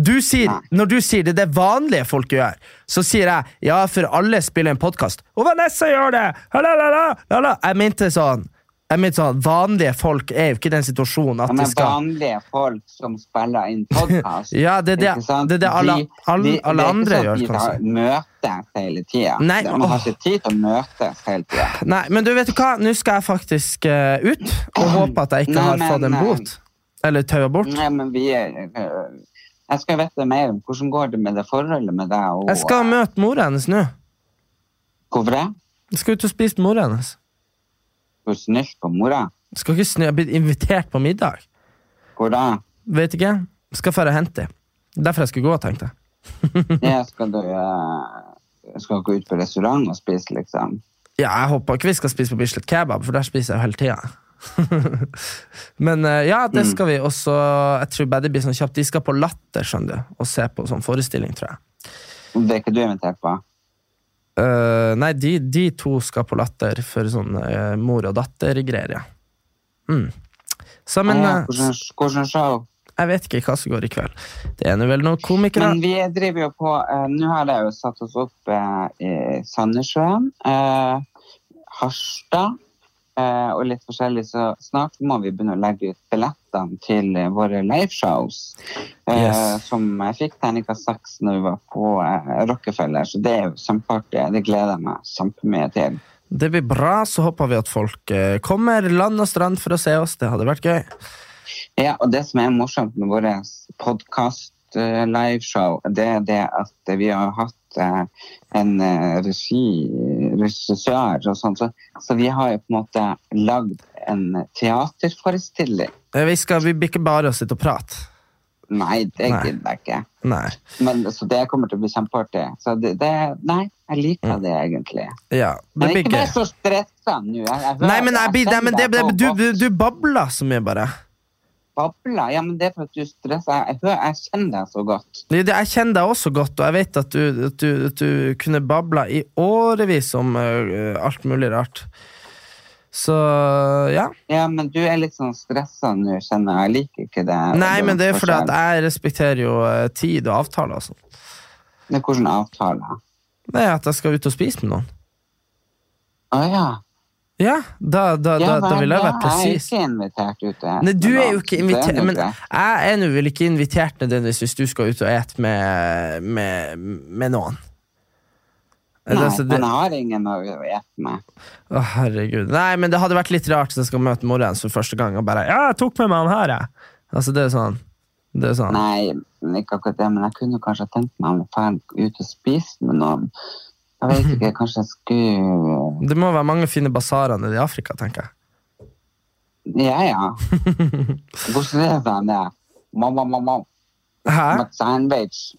Speaker 2: Du sier,
Speaker 3: Nei.
Speaker 2: når du sier det det vanlige folk gjør, så sier jeg ja, for alle spiller en podkast. Og Vanessa gjør det! Halalala, lala. Jeg mente sånn. Jeg mente sånn, Vanlige folk er jo ikke i den situasjonen
Speaker 3: Ja,
Speaker 2: at de
Speaker 3: men
Speaker 2: skal
Speaker 3: vanlige folk som spiller inn podkast.
Speaker 2: Ja, det er det-
Speaker 3: ikke sant?
Speaker 2: det er det alle-
Speaker 3: De-
Speaker 2: alle-
Speaker 3: de- det er
Speaker 2: alle
Speaker 3: ikke
Speaker 2: andre
Speaker 3: sånn at
Speaker 2: gjør,
Speaker 3: De
Speaker 2: kan
Speaker 3: tar
Speaker 2: du
Speaker 3: møtes hele tida.
Speaker 2: Nei,
Speaker 3: Man har
Speaker 2: åh.
Speaker 3: ikke tid til å møtes hele tida.
Speaker 2: Nei, men du vet du hva, nå skal jeg faktisk eh, ut, og håpe at jeg ikke
Speaker 3: Nei,
Speaker 2: har
Speaker 3: men,
Speaker 2: fått en
Speaker 3: eh,
Speaker 2: bot. Eller taua bort.
Speaker 3: Nei, men vi er øh, Jeg skal vite mer om hvordan går det med det forholdet med deg og
Speaker 2: Jeg skal møte mora hennes nå.
Speaker 3: Hvorfor det?
Speaker 2: Jeg skal ut og spise med mora hennes.
Speaker 3: Du er snill på mora.
Speaker 2: Jeg skal ikke snu, jeg er blitt invitert på middag.
Speaker 3: Hvor da?
Speaker 2: Vet ikke. Skal dra og hente dem. Derfor jeg skulle gå, tenkte jeg. Mhm.
Speaker 3: Ja, skal du øh, Skal gå ut på restaurant og spise, liksom?
Speaker 2: Ja, jeg håper ikke vi skal spise på Bislett kebab, for der spiser jeg jo hele tida. Men eh, ja, det
Speaker 3: Mm.
Speaker 2: skal vi også. Jeg tror bare det blir sånn kjapt. De skal på Latter, skjønner du, og se på sånn forestilling, tror jeg.
Speaker 3: Det er ikke du invitert på?
Speaker 2: Eh, nei, de, de to skal på Latter for sånn eh, mor og datter-greier, ja. Mm. Så, men
Speaker 3: ja,
Speaker 2: eh,
Speaker 3: hvordan, hvordan show?
Speaker 2: jeg vet ikke hva som går i kveld. Det er nå vel noen komikere.
Speaker 3: Men vi driver jo på eh, Nå har jeg jo satt oss opp eh, i Sandnessjøen, eh, Harstad eh, og litt forskjellig, så snart må vi begynne å legge ut billettene til eh, våre liveshows. Eh,
Speaker 2: Yes.
Speaker 3: Som jeg fikk terningkast seks når vi var på eh, Rockefeller, så det er jo kjempeartig. Det gleder jeg meg kjempemye til.
Speaker 2: Det blir bra, så håper vi at folk eh, kommer land og strand for å se oss. Det hadde vært gøy.
Speaker 3: Ja, og det som er morsomt med vår podkast liveshow, det er det at vi har hatt eh, en eh, regi, regissør og sånn, så, så vi har jo på en måte lagd en teaterforestilling.
Speaker 2: Eh, Vi, skal, vi blir ikke bare å sitte og prate.
Speaker 3: Nei, det
Speaker 2: Nei.
Speaker 3: gidder jeg ikke.
Speaker 2: Nei.
Speaker 3: Men, så det kommer til å bli kjempeartig. Så det, det, nei, jeg liker det egentlig.
Speaker 2: Ja, Mm. det
Speaker 3: Men
Speaker 2: blir
Speaker 3: ikke vær
Speaker 2: gøy.
Speaker 3: så stressa nå. Jeg, jeg hører
Speaker 2: Nei, men, jeg,
Speaker 3: det.
Speaker 2: blir- nei, men det,
Speaker 3: kjenner
Speaker 2: det,
Speaker 3: deg
Speaker 2: du,
Speaker 3: på
Speaker 2: du, du babler så mye, bare.
Speaker 3: bobla. Ja, men det er for at du stresser. Jeg, hører, jeg kjenner deg så godt.
Speaker 2: Det- det- Jeg kjenner deg også godt, og jeg vet at du, at du, at du kunne babla i årevis om eh, alt mulig rart. Så ja.
Speaker 3: Ja, men du er litt sånn stressa nå, kjenner jeg. Jeg liker ikke det.
Speaker 2: Nei, men det er fordi at jeg respekterer jo eh, tid og avtaler og sånn.
Speaker 3: Det er hvordan avtaler.
Speaker 2: Det er at jeg skal ut og spise med noen.
Speaker 3: Å ja.
Speaker 2: Ja, da, da, da,
Speaker 3: ja
Speaker 2: da
Speaker 3: vel,
Speaker 2: vil jeg være
Speaker 3: da er Jeg er
Speaker 2: presis.
Speaker 3: ikke invitert ut. jeg.
Speaker 2: Nei, du
Speaker 3: Men
Speaker 2: er
Speaker 3: da,
Speaker 2: jo ikke
Speaker 3: det
Speaker 2: invitert
Speaker 3: nå
Speaker 2: Men
Speaker 3: greit.
Speaker 2: jeg er nå vel ikke invitert nødvendigvis hvis du skal ut og ete med, med, med noen.
Speaker 3: Nei,
Speaker 2: Altså, det-
Speaker 3: men jeg har ingen å gjette med.
Speaker 2: Å, herregud. Nei, men det hadde vært litt rart hvis jeg skal møte mora hennes for første gang og bare Ja, jeg tok med meg han her, jeg. Altså, det er sånn. Det er sånn.
Speaker 3: Nei, men ikke akkurat det. Men jeg kunne kanskje tenkt meg om å dra ut og spise med noen. Jeg vet ikke, kanskje jeg skulle
Speaker 2: Det må være mange fine basarer nede i Afrika, tenker jeg.
Speaker 3: Ja, ja. Hvordan er det med mamma, mamma,
Speaker 2: Hæ?
Speaker 3: med sandwich?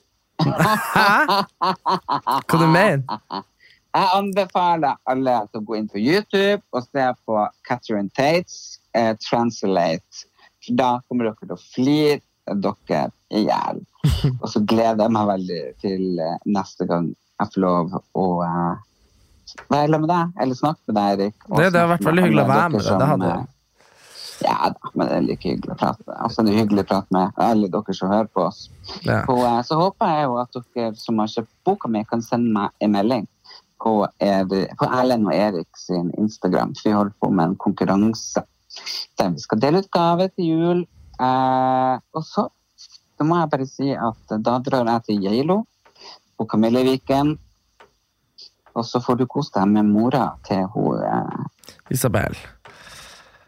Speaker 2: Hæ? Hva du mener?
Speaker 3: Jeg anbefaler alle til å gå inn på YouTube og se på Catherine Tates eh, Translate. For da kommer dere til å flire dere i hjel. Og så gleder jeg meg veldig til eh, neste gang jeg får lov å eh, være sammen med deg, eller snakke med deg, Erik. og
Speaker 2: Det- det har
Speaker 3: snakke
Speaker 2: vært veldig hyggelig å
Speaker 3: alle
Speaker 2: være med
Speaker 3: dere
Speaker 2: deg, det
Speaker 3: som,
Speaker 2: hadde jeg.
Speaker 3: eh, Ja da, men det er like hyggelig å prate med. Altså, det er hyggelig å prate med alle dere som hører på oss.
Speaker 2: Ja.
Speaker 3: På, eh, så håper jeg jo at dere som har kjøpt boka mi, kan sende meg en melding på, Eri- på Erlend og Erik sin Instagram. For vi holder på med en konkurranse der vi skal dele ut gave til jul. Eh, og så, så må jeg bare si at eh, da drar jeg til Geilo på Kamilleviken. Og så får du kose deg med mora til hun eh,
Speaker 2: Isabel.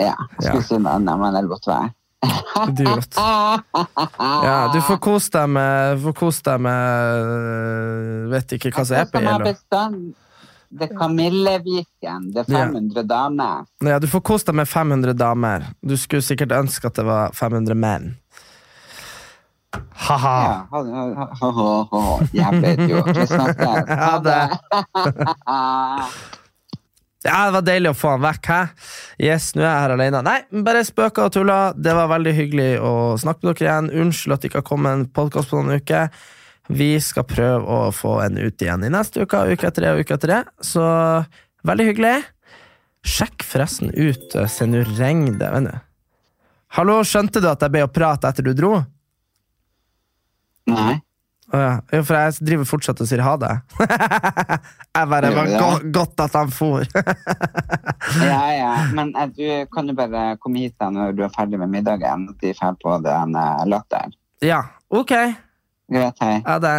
Speaker 3: Ja, jeg skulle
Speaker 2: Ja.
Speaker 3: si noe annet, men det er godt vær.
Speaker 2: Det er jo godt. Ja,
Speaker 3: Ah.
Speaker 2: du får kose deg med, får kose deg med øh, Vet ikke hva som er på
Speaker 3: som har
Speaker 2: Jeløya.
Speaker 3: bestand- Det er Kamilleviken. Det er
Speaker 2: Ja.
Speaker 3: 500 damer.
Speaker 2: Ja, du får kose deg med 500 damer. Du skulle sikkert ønske at det var 500 menn. Ha-ha.
Speaker 3: Ja, ha- ha- ha- ha- ha. Jeg vet jo. Vi snakkes.
Speaker 2: Ha det. Ja, det var deilig å få han vekk, hæ? Yes, nå er jeg her alene. Nei, bare spøker og tuller. Det var veldig hyggelig å snakke med dere igjen. Unnskyld at det ikke har kommet en podkast på noen uker. Vi skal prøve å få en ut igjen i neste uke, uke etter det og uke etter det. Så veldig hyggelig. Sjekk forresten ut eh, Se, nå regner det, vet du. Hallo, skjønte du at jeg ble å prate etter du dro?
Speaker 3: Nei.
Speaker 2: Å ja. Jo, for jeg driver fortsatt og sier ha det. jeg bare
Speaker 3: Gjør
Speaker 2: var
Speaker 3: du det?
Speaker 2: go godt at han for.
Speaker 3: Ja, ja. Men eh, du kan jo bare komme hit da når du er ferdig med middagen. at De drar på den eh, latteren.
Speaker 2: ja, ok.
Speaker 3: Greit, hei.
Speaker 2: Ja, det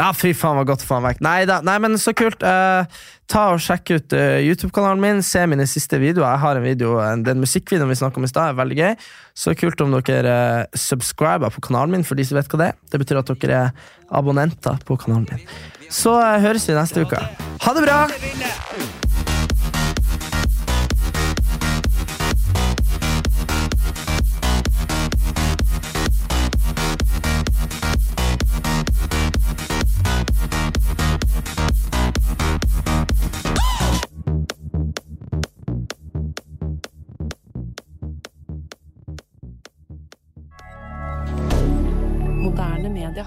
Speaker 2: Ja, fy faen, var godt å få han vekk. Nei da, nei, men så kult. Eh, ta og Sjekk ut eh, YouTube-kanalen min. Se mine siste videoer. Jeg har en video, eh, Den musikkvideoen vi snakket om i stad, er veldig gøy. Så kult om dere uh, subscriber på kanalen min, for de som vet hva det er. Det betyr at dere er abonnenter på kanalen min. Så eh, høres vi neste uke. Ha det bra!
Speaker 5: Moderne media.